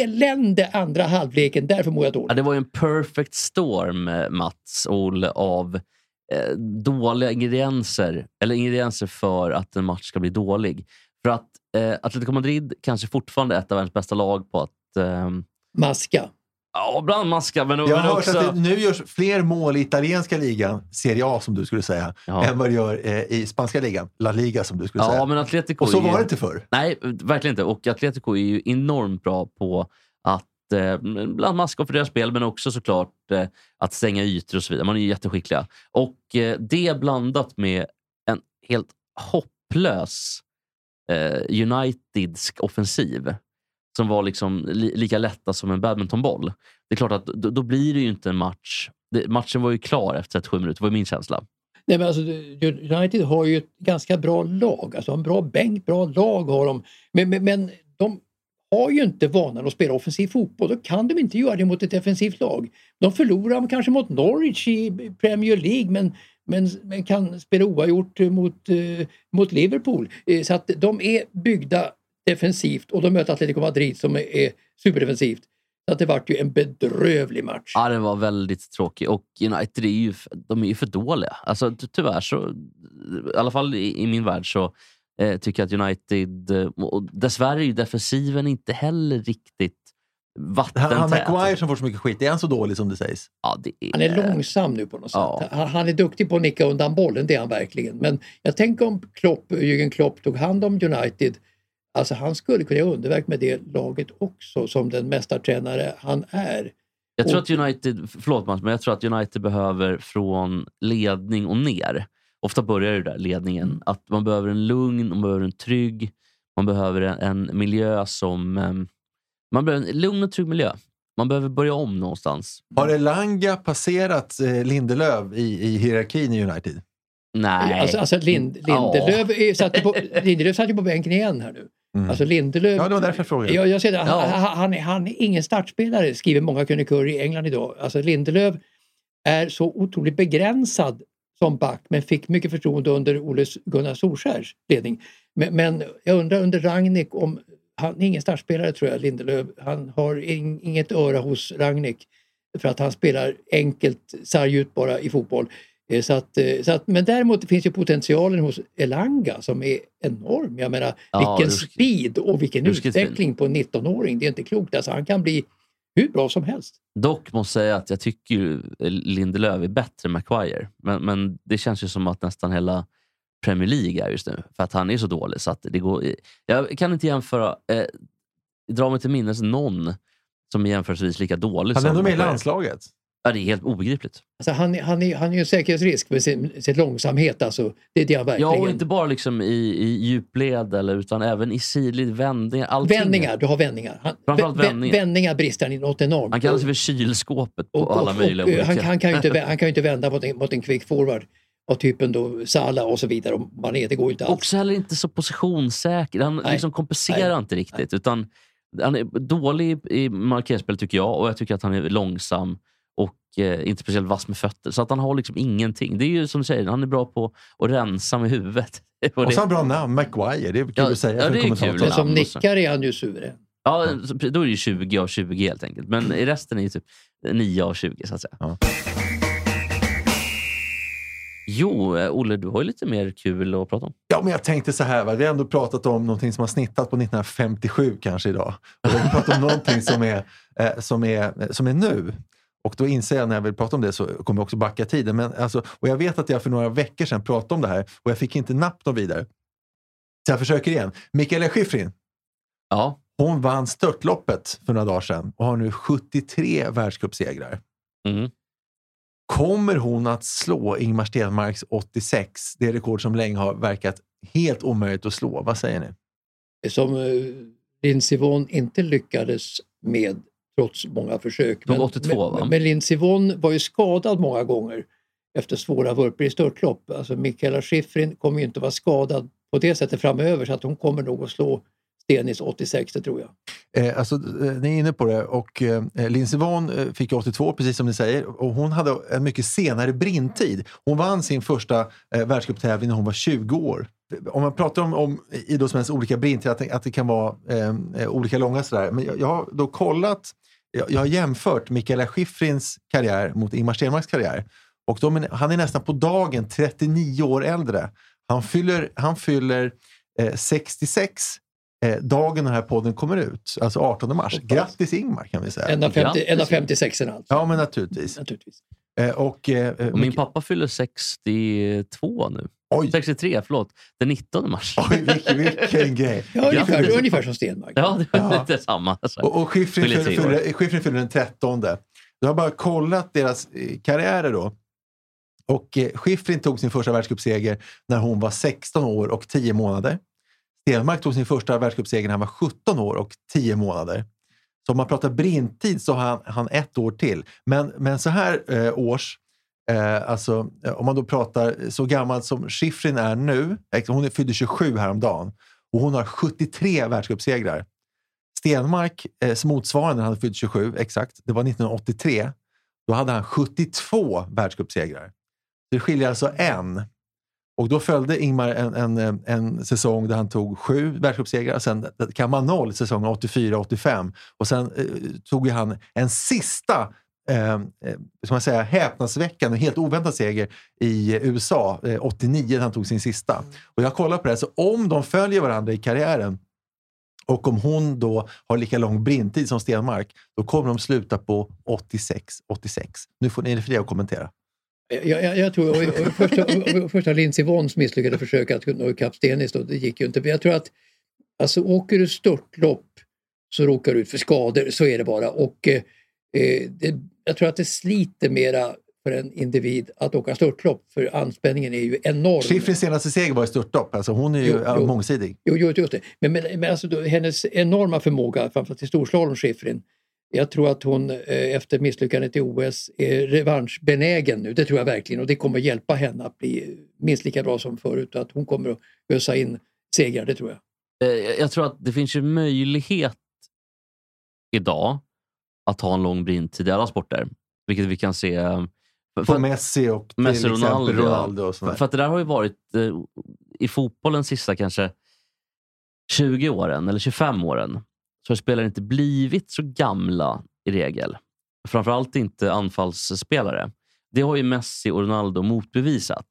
B: elände andra halvleken. Därför mår jag dåligt.
C: Ja, det var ju en perfect storm, eh, Mats Ol, av eh, dåliga ingredienser. Eller ingredienser för att en match ska bli dålig. För att eh, Atletico Madrid kanske fortfarande är ett av världens bästa lag på att... ehm,
B: Maska.
C: ja, bland maska, men,
A: Jag har
C: men
A: hört
C: också...
A: att det nu görs fler mål i italienska ligan, Serie A som du skulle säga,
C: Ja.
A: än vad det gör eh, i spanska ligan, La Liga som du skulle
C: Ja,
A: säga.
C: men Atletico
A: Och så
C: är ju-
A: var det inte förr.
C: Nej, verkligen inte. Och Atletico är ju enormt bra på att eh, bland maska och fördela spel, men också såklart eh, att stänga ytor och så vidare. Man är ju jätteskickliga. Och eh, det blandat med en helt hopplös eh, Unitedsk offensiv som var liksom li, lika lätta som en badmintonboll. Det är klart att då, då blir det ju inte en match. Det, matchen var ju klar efter 37 minuter, var ju min känsla.
B: Nej, men alltså, United har ju ett ganska bra lag. Alltså, en bra bänk, bra lag har de. Men, men, men de har ju inte vanan att spela offensiv fotboll. Då kan de inte göra det mot ett defensivt lag. De förlorar kanske mot Norwich i Premier League men, men, men kan spela oavgjort eh, mot, eh, mot Liverpool. Eh, så att de är byggda defensivt och de möter Atletico Madrid som är, är superdefensivt. Så att det vart ju en bedrövlig match.
C: Ja, den var väldigt tråkig. Och United är ju, de är ju för dåliga. Alltså, ty- tyvärr, så, i alla fall i, i min värld, så eh, tycker jag att United... Eh, och dessvärre är ju defensiven inte heller riktigt
A: Han, han
C: vattentät.
A: McGuire som får så mycket skit, är han så dålig som det sägs?
C: Ja, det är...
B: Han är långsam nu på något sätt.
C: Eh. Ja.
B: Han, han är duktig på att nicka undan bollen, det är han verkligen. Men jag tänker om Klopp, Jürgen Klopp tog hand om United. Alltså han skulle kunna göra underverk med det laget också som den mästartränare han är.
C: Jag tror
B: Och-
C: att United, förlåt Mats, men jag tror att United behöver från ledning och ner. Ofta börjar det där, ledningen.
B: Mm.
C: Att man behöver en lugn, man behöver en trygg, man behöver en, en miljö som... ehm, man behöver en lugn och trygg miljö. Man behöver börja om någonstans.
A: Har Elanga passerat eh, Lindelöf i, i hierarkin i United?
C: Nej.
B: Alltså, alltså Lind,
C: Ja.
B: Lindelöf, är- satt på, Lindelöf satt ju på bänken igen här nu. Alltså Lindelöf,
A: Ja, det var därför jag frågade.
B: jag, jag säger det,
A: Mm. Ja.
B: han, han, han, är, han är ingen startspelare skriver många krönikörer i England idag. Alltså Lindelöf är så otroligt begränsad som back men fick mycket förtroende under Ole S- Gunnar Solskjärs ledning. Men, men jag undrar under Ragnik om, han är ingen startspelare tror jag, Lindelöf. Han har in, inget öra hos Ragnik för att han spelar enkelt, sarg ut bara i fotboll. Eh, Så att, eh, så att, men däremot finns ju potentialen hos Elanga som är enorm. Jag menar
C: Ja,
B: vilken
C: ruskigt.
B: speed och vilken
C: Ruskigt fin.
B: utveckling på en 19-åring. Det är inte klokt. Alltså, han kan bli hur bra som helst.
C: Dock måste jag säga att jag tycker ju eh, Lindelöf är bättre än Maguire. Men, men det känns ju som att nästan hela Premier League är just nu. För att han är så dålig. Så att det går, jag kan inte jämföra, eh, dra mig till minnes någon som är jämförelsevis lika dålig
A: Han är
C: som
A: ändå med i
C: Maguire.
A: landslaget.
C: Ja, det är helt obegripligt.
B: Alltså, han, är- han, är, han är ju en säkerhetsrisk med sin, sin långsamhet. Alltså. Det är det han verkligen.
C: Ja, och inte bara liksom i, i djupled, eller, utan även i sidled, vändningar. Allting.
B: Vändningar, du har vändningar. Han,
C: Framförallt
B: vä- vä-
C: vändningar.
B: vändningar brister han i något enormt.
C: Han kallas ju för kylskåpet på
B: Och- och-
C: alla möjliga
B: och, eh,
C: olika...
B: han, han, kan ju inte, vä- han kan ju inte vända mot en, mot en quick forward av typen då Salah och så vidare. Och Mané, det går ju inte alls.
C: Också heller inte så positionssäker. Han
B: Alltså. Nej.
C: liksom kompenserar inte riktigt. Utan han är dålig i- i markerspel tycker jag och jag tycker att han är långsam och eh, inte speciellt vass med fötter. Så att han har liksom ingenting. Det är ju som du säger, han är bra på att rensa med huvudet.
A: Och,
C: det-
A: så har han bra namn, McGuire. Det är kul
C: Ja,
A: att säga
C: ja,
A: för
C: det är
A: en
C: kul.
A: kommentator.
B: Så som
C: namn och så.
B: nickar är han ju eh. suverän.
C: ja, så- då är det ju 20 av 20 helt enkelt. Men i resten är ju typ 9 av 20 så att säga. Jo, eh, Olle, du har ju lite mer kul att prata om.
A: Ja, men jag tänkte så här. Va? Vi har ändå pratat om någonting som har snittat på 1957 kanske idag. Och vi pratat om någonting som är, eh, som, är, eh, som är nu. Och då inser jag när jag vill prata om det så kommer jag också backa tiden. Men alltså, och jag vet att jag för några veckor sedan pratade om det här och jag fick inte napp någon vidare. Så jag försöker igen. Mikaela Shiffrin.
C: Ja.
A: Hon vann störtloppet för några dagar sedan och har nu 73 världscupsegrar.
C: Mm.
A: Kommer hon att slå Ingmar Stenmarks 86? Det rekord som länge har verkat helt omöjligt att slå. Vad säger ni?
B: som eh, Lindsey Vonn inte lyckades med trots många försök.
C: Tog 82, va?
B: men, men Lindsey Vonn var ju skadad många gånger efter svåra vurpor i störtlopp. Alltså Mikaela Shiffrin kommer ju inte vara skadad på det sättet framöver så att hon kommer nog att slå Stenis 86, det tror jag.
A: Eh, alltså, eh, ni är inne på det. Och eh, Lindsey Vonn eh, fick 82, precis som ni säger. Och hon hade en mycket senare brintid. Hon vann sin första eh, världscuptävling när hon var 20 år. Om man pratar om, om idrottsmäns olika brintid, att, det- att det kan vara eh, olika långa sådär. Men jag, jag har då kollat, jag, jag har jämfört Mikaela Shiffrins karriär mot Ingemar Stenmarks karriär. Och de, är- han är nästan på dagen 39 år äldre. Han fyller, han fyller eh, 66 eh, dagen den här podden kommer ut, alltså 18 mars. Grattis Ingmar kan vi säga.
B: En av 50 en av 56 alltså.
A: Ja, men naturligtvis.
B: naturligtvis.
A: Eh, och, eh,
C: Och min pappa fyller 62 nu. 63, förlåt. Den 19 mars.
A: Oj, vilken, vilken grej.
B: Ja, ungefär, ungefär som Stenmark.
C: Ja, det var lite samma. Alltså.
A: Och, och Schiffrin
C: Fyller
A: fyller,
C: tre år.
A: fyller, Schiffrin fyller den 13. Du har bara kollat deras eh, karriärer då. Och eh, Schiffrin tog sin första världscupseger när hon var 16 år och 10 månader. Stenmark tog sin första världscupseger när han var 17 år och 10 månader. Så om man pratar brintid så har han, han ett år till. Men, men så här eh, års, eh, alltså, eh, om man då pratar så gammal som Schiffrin är nu. eh, Hon är fyllde 27 häromdagen och hon har 73 världscupsegrar. Stenmark, eh, som motsvarande när han fyllde 27, exakt, det var 1983. Då hade han 72 världscupsegrar. Det skiljer alltså en. Och då följde Ingmar en, en, eh, en säsong där han tog sju världscupsegrar. Sen kan man noll säsongen 84-85. Och sen eh, tog ju han en sista, eh, eh, ska man säga, häpnadsväckande, helt oväntad seger i USA eh, 89 när han tog sin sista. Och jag kollar på det här, så om de följer varandra i karriären och om hon då har lika lång brintid som Stenmark, då kommer de sluta på 86-86. Nu får ni är det fria att kommentera.
B: Jag, jag, jag tror, och, och, första, och, och, första Lindsey Vonns misslyckade försök att nå ikapp Stenis, då, det gick ju inte. Men jag tror att alltså, åker du störtlopp så råkar du ut för skador, så är det bara. Och, eh, eh, det, jag tror att det sliter mera för en individ att åka störtlopp, för anspänningen är ju enorm.
A: Schiffrins senaste seger var i störtlopp. Alltså hon är ju
B: Jo,
A: ja,
B: jo.
A: mångsidig.
B: Jo, jo, just det. Men, men, men alltså, då, hennes enorma förmåga, framförallt i storslalom, Schifrin. Jag tror att hon eh, efter misslyckandet i OS är revanschbenägen nu. Det tror jag verkligen och det kommer hjälpa henne att bli minst lika bra som förut. Att hon kommer att ösa in segrar, det tror jag.
C: Eh, jag- Jag tror att det finns ju möjlighet idag att ha en lång brintid i alla sporter. Vilket vi kan se... eh, för-
A: På
C: för-
A: Messi och till
C: Messi
A: exempel
C: Ronaldo. ja.
A: Ronaldo och sådär.
C: för, för att det där har ju varit eh, i fotbollen sista kanske 20 åren eller 25 åren. Så har spelare inte blivit så gamla i regel. Framförallt inte anfallsspelare. Det har ju Messi och Ronaldo motbevisat.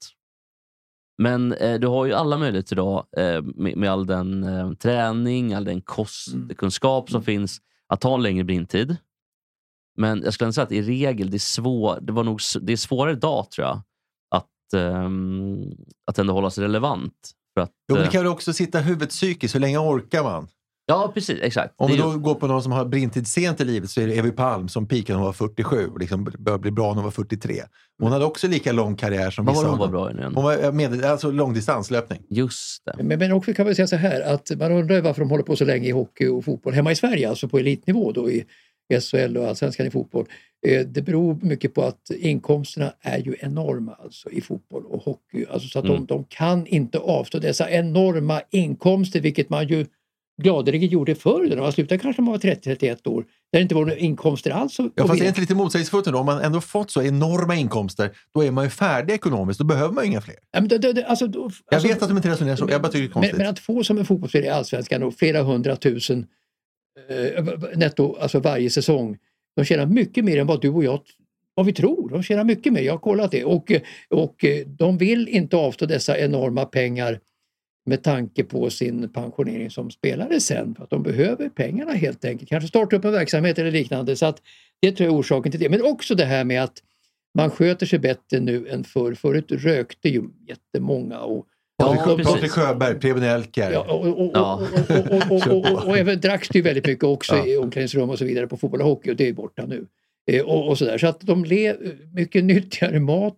C: Men eh, du har ju alla möjligheter idag eh, med, med all den eh, träning, all den
A: Mm.
C: kostkunskap som finns att ta en längre brintid. Men jag skulle ändå säga att i regel, det är, svår, det var nog, s- det är svårare idag tror jag att, ehm, att ändå hålla sig relevant. För att,
A: Jo, men det
C: eh,
A: kan väl också sitta huvudet psykiskt. Hur länge orkar man?
C: Ja, precis. Exakt.
A: Om
C: Det
A: vi
C: är ju-
A: då går på någon som har brintid sent i livet så är det Evi Palm som peakade när hon var 47 och liksom började bli bra när hon var 43. Hon hade också lika lång karriär som
C: Vad var
A: vissa
C: det hon
A: av
C: var
A: dem.
C: bra i nu igen?
A: Hon var eh, med, alltså långdistanslöpning.
C: Just det.
B: Men, men också kan man säga så här att man undrar varför de håller på så länge i hockey och fotboll hemma i Sverige, alltså på elitnivå då i SHL och allsvenskan i fotboll. Eh, Det beror mycket på att inkomsterna är ju enorma alltså i fotboll och hockey. Alltså så att
J: Mm.
B: de, de kan inte avstå dessa enorma inkomster vilket man ju gladeligen gjorde förr. När man slutade kanske när man var 30-31 år. Där det inte var några inkomster alls. att-
A: Ja,
B: att
A: fast det är
B: vinna.
A: inte lite motsägelsefullt ändå? Om man ändå fått så enorma inkomster, då är man ju färdig ekonomiskt. Då behöver man ju inga fler.
B: Ja, men det- det- det- alltså, då-
A: Jag
B: alltså-
A: vet att de inte resonerar så. Jag bara tycker det är
B: Men,
A: konstigt.
B: men att få som en fotbollsspelare i Allsvenskan och flera hundratusen eh, netto alltså varje säsong. De tjänar mycket mer än vad du och jag vad vi tror. De tjänar mycket mer, jag har kollat det. Och, eh, och eh, de vill inte avstå dessa enorma pengar med tanke på sin pensionering som spelare sen. För att de behöver pengarna helt enkelt. Kanske starta upp en verksamhet eller liknande. Så att det tror jag är orsaken till det. Men också det här med att man sköter sig bättre nu än förr. Förut rökte ju jättemånga och
A: Patrik, Patrik Sjöberg, Preben Elker.
B: Ja, och, och, och, och, och, och, och, och, och även dracks det ju väldigt mycket också i omklädningsrum och så vidare på fotboll och hockey och det är borta nu. Eh, och, och så där. så att de lever mycket nyttigare eh, mat,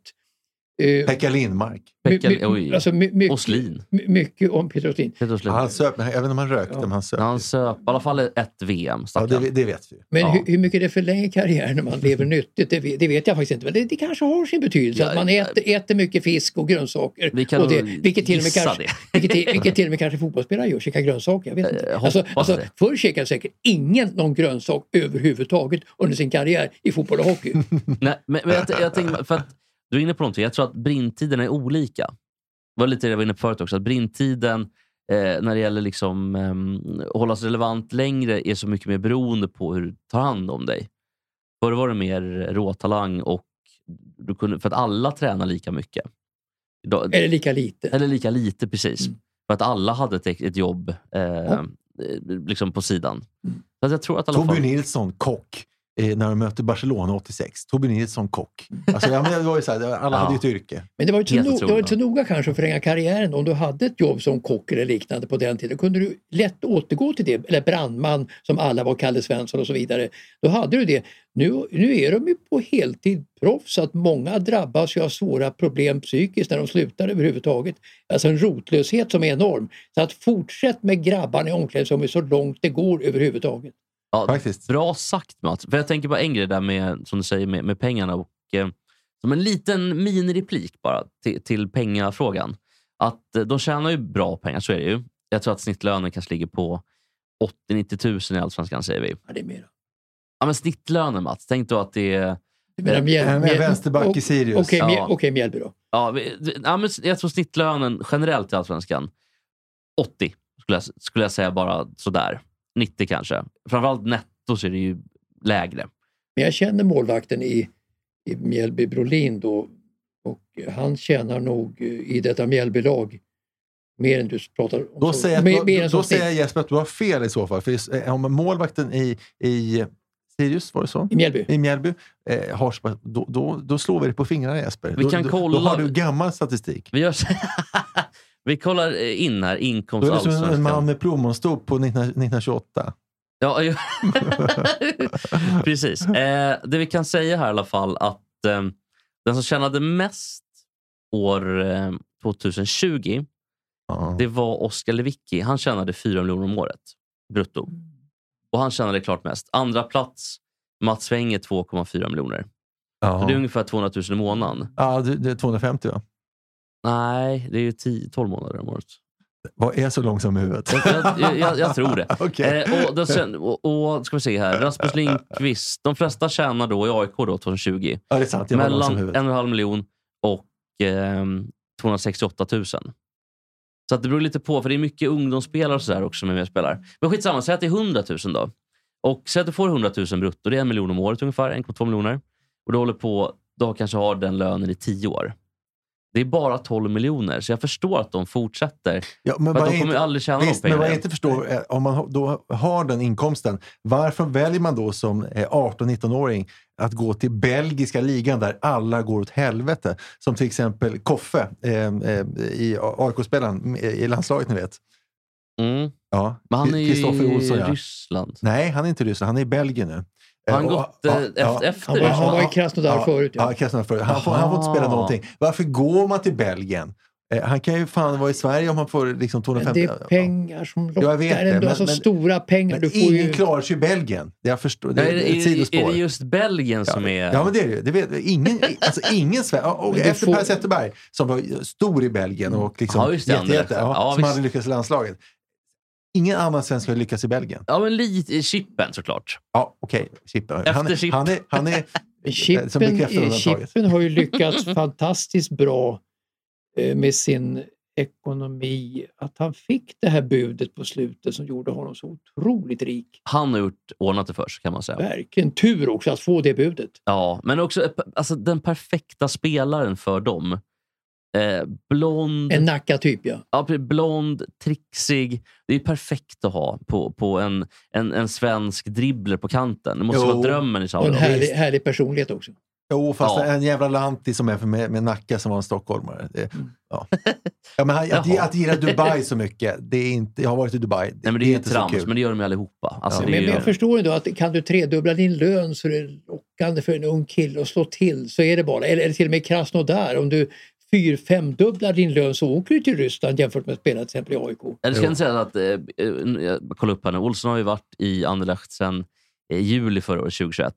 A: Eh, Pekka Lindmark.
C: Pekka, oj.
B: Alltså, my, mycket,
C: Åslin.
B: my- mycket om Peter Åslin.
C: Peter Åslin.
A: Han söp, men även om han rökte, men han söp.
C: Han söp i alla fall ett VM.
A: Ja,
C: stackarn.
A: det, det vet vi ju.
B: Men
C: Ja.
B: hur, hur mycket det förlänger karriären om man lever nyttigt, det, vet- det vet jag faktiskt inte. Men det, det kanske har sin betydelse.
C: Ja,
B: att man äter, äter mycket fisk och grönsaker.
C: Vi kan
B: och det,
C: nog
B: vilket, till och med
C: gissa
B: kanske,
C: det.
B: vilket, till- vilket till och med kanske fotbollsspelare gör, käkar grönsaker. Jag vet inte.
C: Eh,
B: alltså,
C: hoppas
B: alltså,
C: det.
B: förr käkade säkert ingen någon grönsak överhuvudtaget under sin karriär i fotboll och hockey.
C: Nej, men, men jag, jag tänker, för att, du är inne på någonting. Jag tror att brintiderna är olika. Det var lite det jag var inne på förut också. Att brintiden eh, när det gäller liksom, ehm, att hålla sig relevant längre är så mycket mer beroende på hur du tar hand om dig. Förr var det mer råtalang och du kunde, för att alla tränar lika mycket. Idag-
B: Eller lika lite.
C: Eller lika lite, precis. För att alla hade ett, ett jobb eh, eh, liksom på sidan. Så att jag tror att i alla fall...
A: Torbjörn Nilsson, kock. Eh, när de mötte Barcelona 86. Torbjörn Nilsson, kock. Alltså, ja, men det var ju så här, alla
C: Ja.
A: hade ju ett yrke.
B: Men det var inte så,
C: Helt
B: no- det
C: otroligt.
B: var inte så noga kanske att förlänga karriären om du hade ett jobb som kock eller liknande på den tiden. Då kunde du lätt återgå till det, eller brandman som alla var, Kalle Svensson och så vidare. Då hade du det. Nu, nu är de ju på heltid proffs så att många drabbas ju av svåra problem psykiskt när de slutar överhuvudtaget. Alltså en rotlöshet som är enorm. Så att fortsätt med grabbarna i omklädningsrummet så långt det går överhuvudtaget.
C: Ja,
A: Faktiskt.
C: Bra sagt Mats. För jag tänker på en grej där med, som du säger med, med pengarna. Och, eh, som en liten minireplik bara till, till pengafrågan. Att eh, de tjänar ju bra pengar, så är det ju. Jag tror att snittlönen kanske ligger på 80-90 tusen i Allsvenskan, säger vi.
B: Ja, det är mer.
C: Ja, men snittlönen Mats, tänk då att det är...
B: Jag menar, Mjäl-
A: En, en
B: Mjäl-
A: vänsterback i Sirius.
B: Okej, Mjäl-
C: Ja.
B: okej, Mjällby då.
C: Ja, vi- ja, men jag tror snittlönen generellt i Allsvenskan, 80 skulle jag, skulle jag säga bara sådär. 90 kanske. Framförallt netto så är det ju lägre.
B: Men jag känner målvakten i, i Mjällby Brolin då och han tjänar nog eh, i detta Mjällbylag mer än du pratar om.
A: Då
B: som-
A: säger,
B: mer,
A: jag, att du-
B: mer
A: då,
B: än som
A: då säger
B: snitt.
A: jag Jesper att du har fel i så fall. För i- eh, om målvakten i, i Sirius, var det så?
B: I Mjällby.
A: I Mjällby, eh, har, så pass- då, då, då slår vi det på fingrarna Jesper.
C: Vi
A: då,
C: kan
A: då,
C: kolla-
A: då har du gammal statistik.
C: Vi, gör så- vi kollar eh, in här,
A: Då
C: inkomst
A: är det som en man
C: allsvenskan.
A: med plommonstop på 19, 1928.
C: Ja, ju- Precis. Eh, det vi kan säga här i alla fall att eh, den som tjänade mest år eh, 2020,
A: Ja.
C: det var Oskar Lewicki. Han tjänade 4 miljoner om året brutto. Och han tjänade klart mest. Andra plats Mats Wenge 2,4 miljoner. Så Det är
A: Ja.
C: ungefär 200 000 i månaden.
A: Ja, det, det är 250 va?
C: Nej, det är ju 10, 12 månader om året.
A: Vad är så lång som huvudet?
C: Jag, jag, jag, jag tror det.
A: Okej.
C: Eh, och, då sen, och, och ska vi se här. Rasmus Lindqvist. De flesta tjänar då i AIK då, 2020
A: Ja, det är sant. Jag var lång
C: mellan
A: som
C: en och
A: huvudet.
C: en halv miljon och ehm, 268 000. Så att det beror lite på, för det är mycket ungdomsspelare och sådär också som är med och spelar. Men skitsamma, säg att det är 100 000 då. Och säg att du får 100 000 brutto. Det är en miljon om året ungefär, 1,2 miljoner. Och du håller på, du har- kanske har den lönen i tio år. Det är bara 12 miljoner, så jag förstår att de fortsätter.
A: Ja, men
C: För att
A: vad
C: de
A: är
C: kommer ju
A: inte-
C: aldrig tjäna de
A: Visst, men
C: pengarna.
A: vad jag inte förstår, eh, om man ha- då har den inkomsten, varför väljer man då som eh, 18-19-åring att gå till belgiska ligan där alla går åt helvete? Som till exempel Koffe, eh, eh, i AIK-spelaren eh, i landslaget ni vet.
C: Mm.
A: Ja,
C: Men han är ju
A: Kristoffer Olsson
C: i
A: ja.
C: Ryssland.
A: Nej, han är inte ryssen, han är i Belgien nu.
C: Har han
A: Eh, och-
C: gått
A: ja,
C: eh,
A: ja.
C: efter, efter
B: Han var- han
C: Ryssland?
B: var i Krasnodar
A: Ja,
B: förut.
A: Ja,
B: Ja.
A: Krasnodar förut. Han får, han får inte spela
C: Aha.
A: någonting. Varför går man till Belgien? Eh, han kan ju fan vara i Sverige om han får liksom
B: Men
A: 250...
B: det är pengar som lockar
A: Jag vet det,
B: ändå.
A: men-
B: alltså
A: men-
B: stora pengar.
A: Men
B: Du får
A: ingen
B: ju...
A: klarar sig i Belgien. Jag förstår. Det
C: Ja,
A: är,
C: är,
A: det är ett
C: är,
A: sidospår.
C: är det just Belgien som är...
A: Ja, men det är det ju. det vet, ingen, alltså ingen svensk. Och
B: Men du
A: efter
B: får- Mm.
A: Per Zetterberg, som var stor i Belgien och liksom
C: Ja, just det,
A: jätte,
C: andra.
A: jätte, ja,
C: Ja,
A: som
C: visst.
A: hade lyckats i landslaget. Ingen annan svensk har lyckats i Belgien.
C: Ja, men lite i Chippen såklart.
A: Ja, okej. Chippen.
C: Efter
A: Han, är-
C: Chip.
A: han är... Han är eh, som
B: Chippen, eh,
A: bekräftar undantaget.
B: Chippen har ju lyckats fantastiskt bra eh, med sin ekonomi. Att han fick det här budet på slutet som gjorde honom så otroligt rik.
C: Han har gjort, ordnat det för sig kan man säga.
B: Verkligen tur också att få det budet.
C: Ja, men också eh, alltså, den perfekta spelaren för dem. Eh, blond,
A: Mm.
B: En Nacka-typ ja.
C: ja, pre- blond, trixig. Det är perfekt att ha på, på en, en, en svensk dribbler på kanten. Det måste
A: Jo.
C: vara drömmen
B: Och
C: i
B: en
C: Saudiarabien.
B: härlig, härlig personlighet också.
A: Jo, fast
C: Ja.
A: en jävla lantis som är för- med, med Nacka som var en stockholmare. Det, ja. Ja, men han, att,
C: Mm. Jaha.
A: att gilla Dubai så mycket, det är inte... Jag har varit i Dubai.
C: Nej, men det är ju
A: inte så
C: trams,
A: kul.
C: men det gör de ju allihopa. Alltså,
A: Ja.
C: det är
B: Men, men
C: ju,
B: jag förstår ändå att kan du tredubbla din lön så det lockar lockande för en ung kille att slå till så är det bara. Eller, eller till och med Krasnodar. Om du fyr femdubblar din lön så åker du till Ryssland jämfört med att spela till exempel i AIK.
C: Eller ska jag inte säga att, eh, eh, jag kollar upp här nu, Olsson har ju varit i Anderlecht sedan eh, juli förra året, 2021.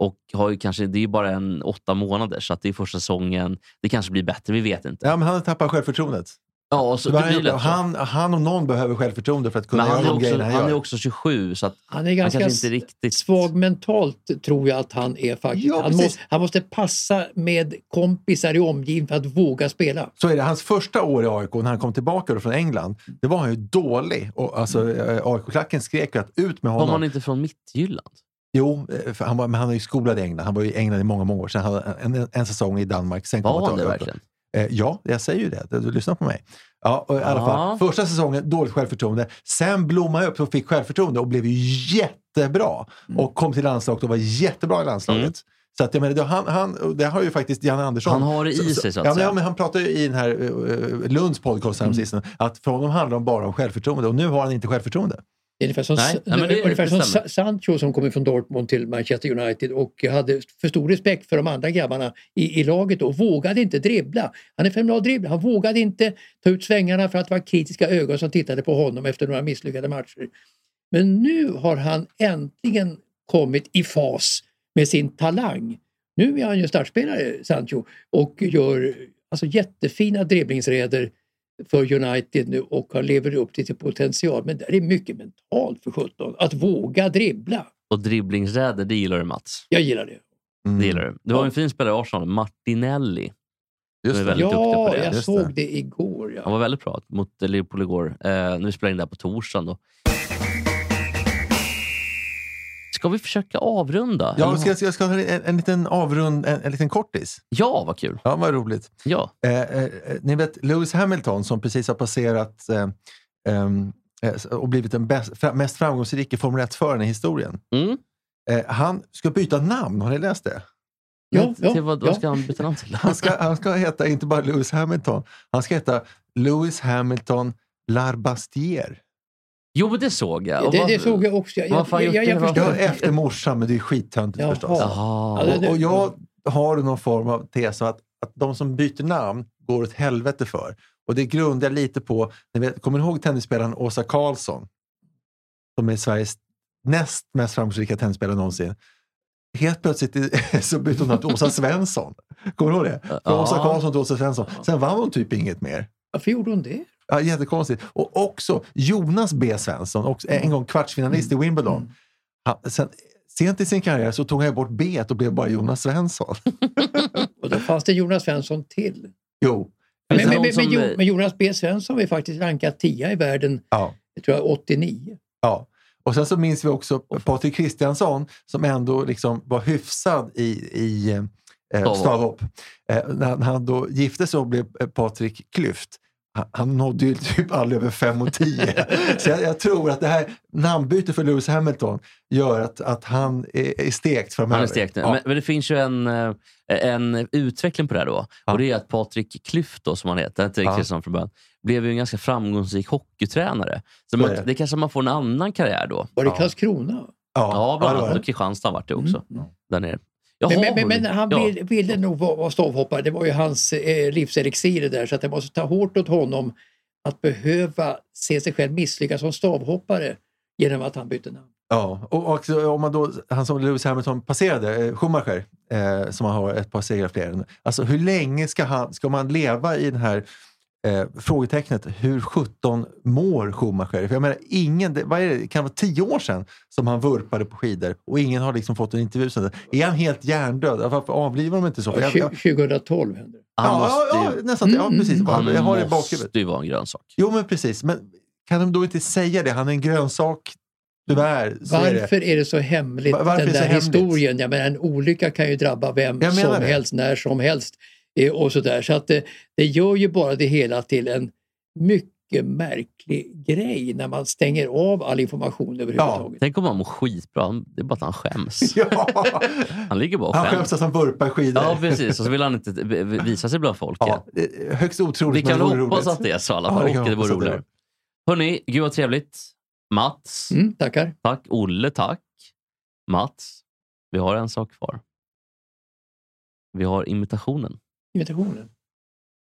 C: Och har ju kanske, det är ju bara en åtta månader, så att det är första säsongen. Det kanske blir bättre, vi vet inte.
A: Ja, men han tappar självförtroendet.
C: Ja, och så,
A: Det var
C: det blir lätt så.
A: han, han och någon behöver självförtroende för att
C: Men
A: kunna
C: han
A: göra
C: är,
A: de
C: också,
A: grejerna
C: han
A: gör.
C: är också 27, så att
B: Han är ganska
C: kanske inte riktigt...
B: svag mentalt tror jag att han är faktiskt.
A: Ja,
B: han,
A: precis.
B: måste, han måste passa med kompisar i omgivningen för att våga spela.
A: Så är det. Hans första år i AIK, när han kom tillbaka då från England, det var han ju dålig. Och, alltså, eh, AIK-klacken skrek ju att ut med
C: Var
A: honom.
C: man inte från Mittjylland?
A: Jo, eh, för han var, men han är ju skolad i England. Han var ju i England i många, många år. Sen hade han en, en säsong i Danmark. Sen kom
C: Var han det
A: tillbaka.
C: verkligen?
A: Eh, ja, jag säger ju det. Du, du lyssnar på mig. Ja, och i alla
C: Ja.
A: fall. Första säsongen, dåligt självförtroende. Sen blommade jag upp och fick självförtroende och blev ju jättebra.
C: Mm.
A: Och kom till landslaget och var jättebra i landslaget. Så att, jag menar, det, han, han, och det har ju faktiskt Janne Andersson.
C: Han har det i
A: Så- så-
C: sig, så att
A: ja, men,
C: säga. Mm.
A: ja, men Han pratade ju i den här eh, Lunds podcast häromsistens att för honom handlar det bara om självförtroende och nu har han inte självförtroende.
B: Det är ungefär som,
C: Nej, nej, men det-
B: ungefär
C: det
B: som
C: stämmer.
B: Sa- Sancho som kom från Dortmund till Manchester United och hade för stor respekt för de andra grabbarna i, i laget och vågade inte dribbla. Han är fenomenal dribbla. Han vågade inte ta ut svängarna för att det var kritiska ögon som tittade på honom efter några misslyckade matcher. Men nu har han äntligen kommit i fas med sin talang. Nu är han ju startspelare, Sancho, och gör alltså, jättefina dribblingsräder för United nu och har lever upp till sin potential. Men där är mycket mentalt för 17. Att våga dribbla.
C: Och dribblingsräder, det gillar du Mats.
B: Jag gillar det.
C: Det
A: Mm.
C: gillar du. Det var en fin spelare i Arsenal, Martinelli.
A: Just
C: är
A: det.
C: väldigt duktig på
B: Ja,
C: det.
B: jag
A: Just
B: såg
A: det.
B: det. igår. Ja.
C: Han var väldigt bra mot Liverpool igår. Eh, nu spelar in det här på torsdagen. Då. Ska vi försöka avrunda?
A: Ja,
C: Eller-
A: ska, jag- jag ska ha en, en liten avrund, en, en liten kortis.
C: ja vad kul!
A: Ja, vad roligt.
C: Ja.
A: Eh, eh, eh, ni vet Lewis Hamilton som precis har passerat eh, ehm, eh, och blivit den bäst, fra- mest framgångsrike Formel 1-föraren i historien.
C: Mm.
A: Eh, han ska byta namn, har ni läst det?
B: Ja, ja,
C: Till vad,
B: ja.
C: vad ska han byta namn till?
A: Han ska, han ska heta inte bara Lewis Hamilton, han ska heta Lewis Hamilton Larbastier.
C: Jo, men det såg jag. Och
B: det,
C: vad-
B: det såg jag också. Jag,
C: vad fan
B: jag, jag,
C: gjorde
B: jag
C: det?
B: förstår.
A: Ja, efter morsan, men det är ju skittöntigt
B: Jaha.
A: förstås.
C: Jaha.
B: Ja, det-
A: Och, och jag har någon form av tes om att, att de som byter namn går åt helvete för. Och det grundar jag lite på, ni vet, kommer ni ihåg tennisspelaren Åsa Karlsson? Som är Sveriges näst mest framgångsrika tennisspelare någonsin. Helt plötsligt i- så bytte hon namn till Åsa Svensson. Kommer du ihåg det? Från
C: Ja.
A: Åsa Karlsson till Åsa Svensson. Sen vann hon typ inget mer.
B: Varför gjorde hon det?
A: Ja, jättekonstigt. Och också Jonas B Svensson, också,
C: Mm.
A: en gång kvartsfinalist i Wimbledon. Han, sen, sent i sin karriär så tog han ju bort B och blev bara Jonas Svensson.
B: Och då fanns det Jonas Svensson till.
A: Jo.
B: Men,
C: Finns det
B: men, men,
C: någon
B: men,
C: som-
B: Jo- men Jonas B Svensson var ju faktiskt rankad 10 i världen,
A: Ja.
B: jag tror jag 89.
A: ja. Och sen så minns vi också Patrik Kristiansson som ändå liksom var hyfsad i, i eh,
C: Stavhopp.
A: stavhopp. Eh, när han då gifte sig och blev eh, Patrik Klyft. Han- Han nådde ju typ aldrig över 5 och 10. Så jag, jag tror att det här namnbytet för Lewis Hamilton gör att, att han är, är stekt framöver.
C: Han är stekt nu.
A: Ja.
C: Men, men det finns ju en, eh, en utveckling på det här. Då. Och det är att Patrik Klyft, då, som han heter, inte
A: Ja.
C: Kristiansson från början, blev ju en ganska framgångsrik hockeytränare.
A: Så
C: Så
A: är
C: man,
A: det.
C: det kanske man får en annan karriär då.
B: Var det
A: Ja.
B: Karlskrona?
A: Ja,
C: Ja, bland
A: det var
C: annat.
A: det.
C: Och Kristianstad vart det
B: Mm.
C: också. Där nere. Jaha,
B: Men, men, men,
C: hörru.
B: men han
C: Ja.
B: vill, ville nog vara, vara stavhoppare. Det var ju hans eh, livselixir det där. Så att det måste ta hårt åt honom att behöva se sig själv misslyckas som stavhoppare genom att han bytte namn.
A: Ja, och också, om man då, han som Lewis Hamilton passerade, eh, Schumacher, eh, som har ett par segrar fler än. Alltså hur länge ska, han, ska man leva i det här eh, frågetecknet, hur 17 mår Schumacher? För jag menar, ingen, det, vad är det, det kan vara tio år sedan som han vurpade på skidor och ingen har liksom fått en intervju sedan dess. Är han helt hjärndöd? Varför avlivar de inte så? För jag,
B: Tju-
A: jag,
B: 2012 hände det.
C: Han
A: ja,
C: måste
A: ja,
C: ju, Mm,
A: ja, nästan. Ja, precis.
C: han
A: Jag har det i bakhuvudet.
C: måste ju vara en grönsak.
A: Jo, men precis. Men kan de då inte säga det? Han är en grönsak. Tyvärr, så är det.
B: Varför är det så hemligt,
A: Va- varför
B: den
A: är det
B: där
A: så hemligt?
B: historien? Jag menar, en olycka kan ju drabba vem
A: Jag menar
B: som
A: det.
B: helst, när som helst. eh, Och så där. så att det, det gör ju bara det hela till en mycket märklig grej när man stänger av all information överhuvudtaget.
C: Tänk om han mår skitbra. Han- Det är bara att han skäms.
A: Ja.
C: Han ligger bara och
A: Han
C: skäms.
A: skäms att han vurpar skidor.
C: Ja, precis. Och så vill han inte v- v- visa sig bland folket.
A: Ja, det är högst otroligt,
C: Vi
A: men
C: kan
A: det
C: hoppas
A: vore roligt.
C: att det är så i alla
A: Ja,
C: fall.
A: det kan
C: och det
A: jag
C: vore
A: hoppas att det
C: roligare. Hörni, gud vad trevligt. Mats,
B: Mm, tackar.
C: tack. Olle, tack. Mats, vi har en sak kvar. Vi har imitationen.
B: Imitationen?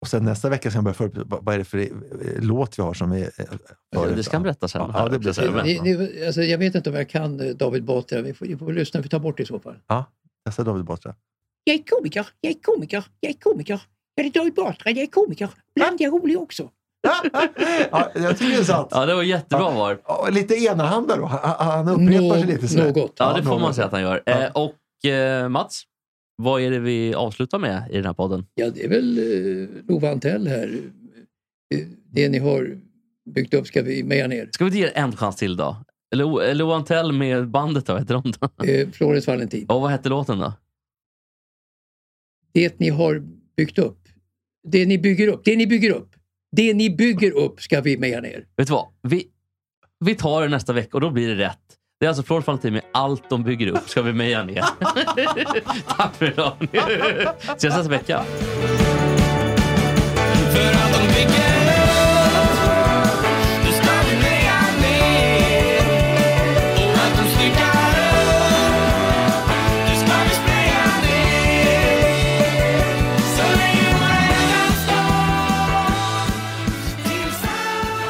A: Och sen nästa vecka ska jag börja förbereda. Vad vad är det för eh, låt vi har som är... eh, förut,
C: det ska han
A: va?
C: berätta sen.
A: Ja, det blir så.
B: Ni, ni, alltså, jag vet inte om jag kan eh, David Batra. Vi får, vi får lyssna. Vi tar bort det i så fall.
A: Ja, testa David Batra.
K: Jag är komiker, jag är komiker, jag är komiker. Jag är David Batra, jag är komiker. Ibland är jag rolig också.
A: Ja, jag tycker det är sant.
C: Ja, det var jättebra VAR.
A: Ja, lite enahanda då. Han, han upprepar sig lite. sådär.
C: Ja, det får man
A: något.
C: säga att han gör. Eh, och eh, Mats, vad är det vi avslutar med i den här podden?
B: Ja, det är väl eh, Love Antell här. Eh, Det ni har byggt upp ska vi meja ner.
C: Ska vi inte ge en chans till då? Lo- eh, Loan Tell med bandet då, heter de då?
B: Eh, Florens Valentin.
C: Och vad hette låten då?
B: Det ni har byggt upp. Det ni bygger upp. Det ni bygger upp. Det ni bygger upp ska vi meja ner.
C: Vet du vad? Vi, vi tar det nästa vecka och då blir det rätt. Det är alltså Florence Valentin med Allt de bygger upp ska vi meja ner. Tack för idag. Ses nästa vecka.
I: För att de bygger upp, då ska vi leja ner. Och att de styckar upp, då ska vi spraya ner. Så länge världen står tillsammans.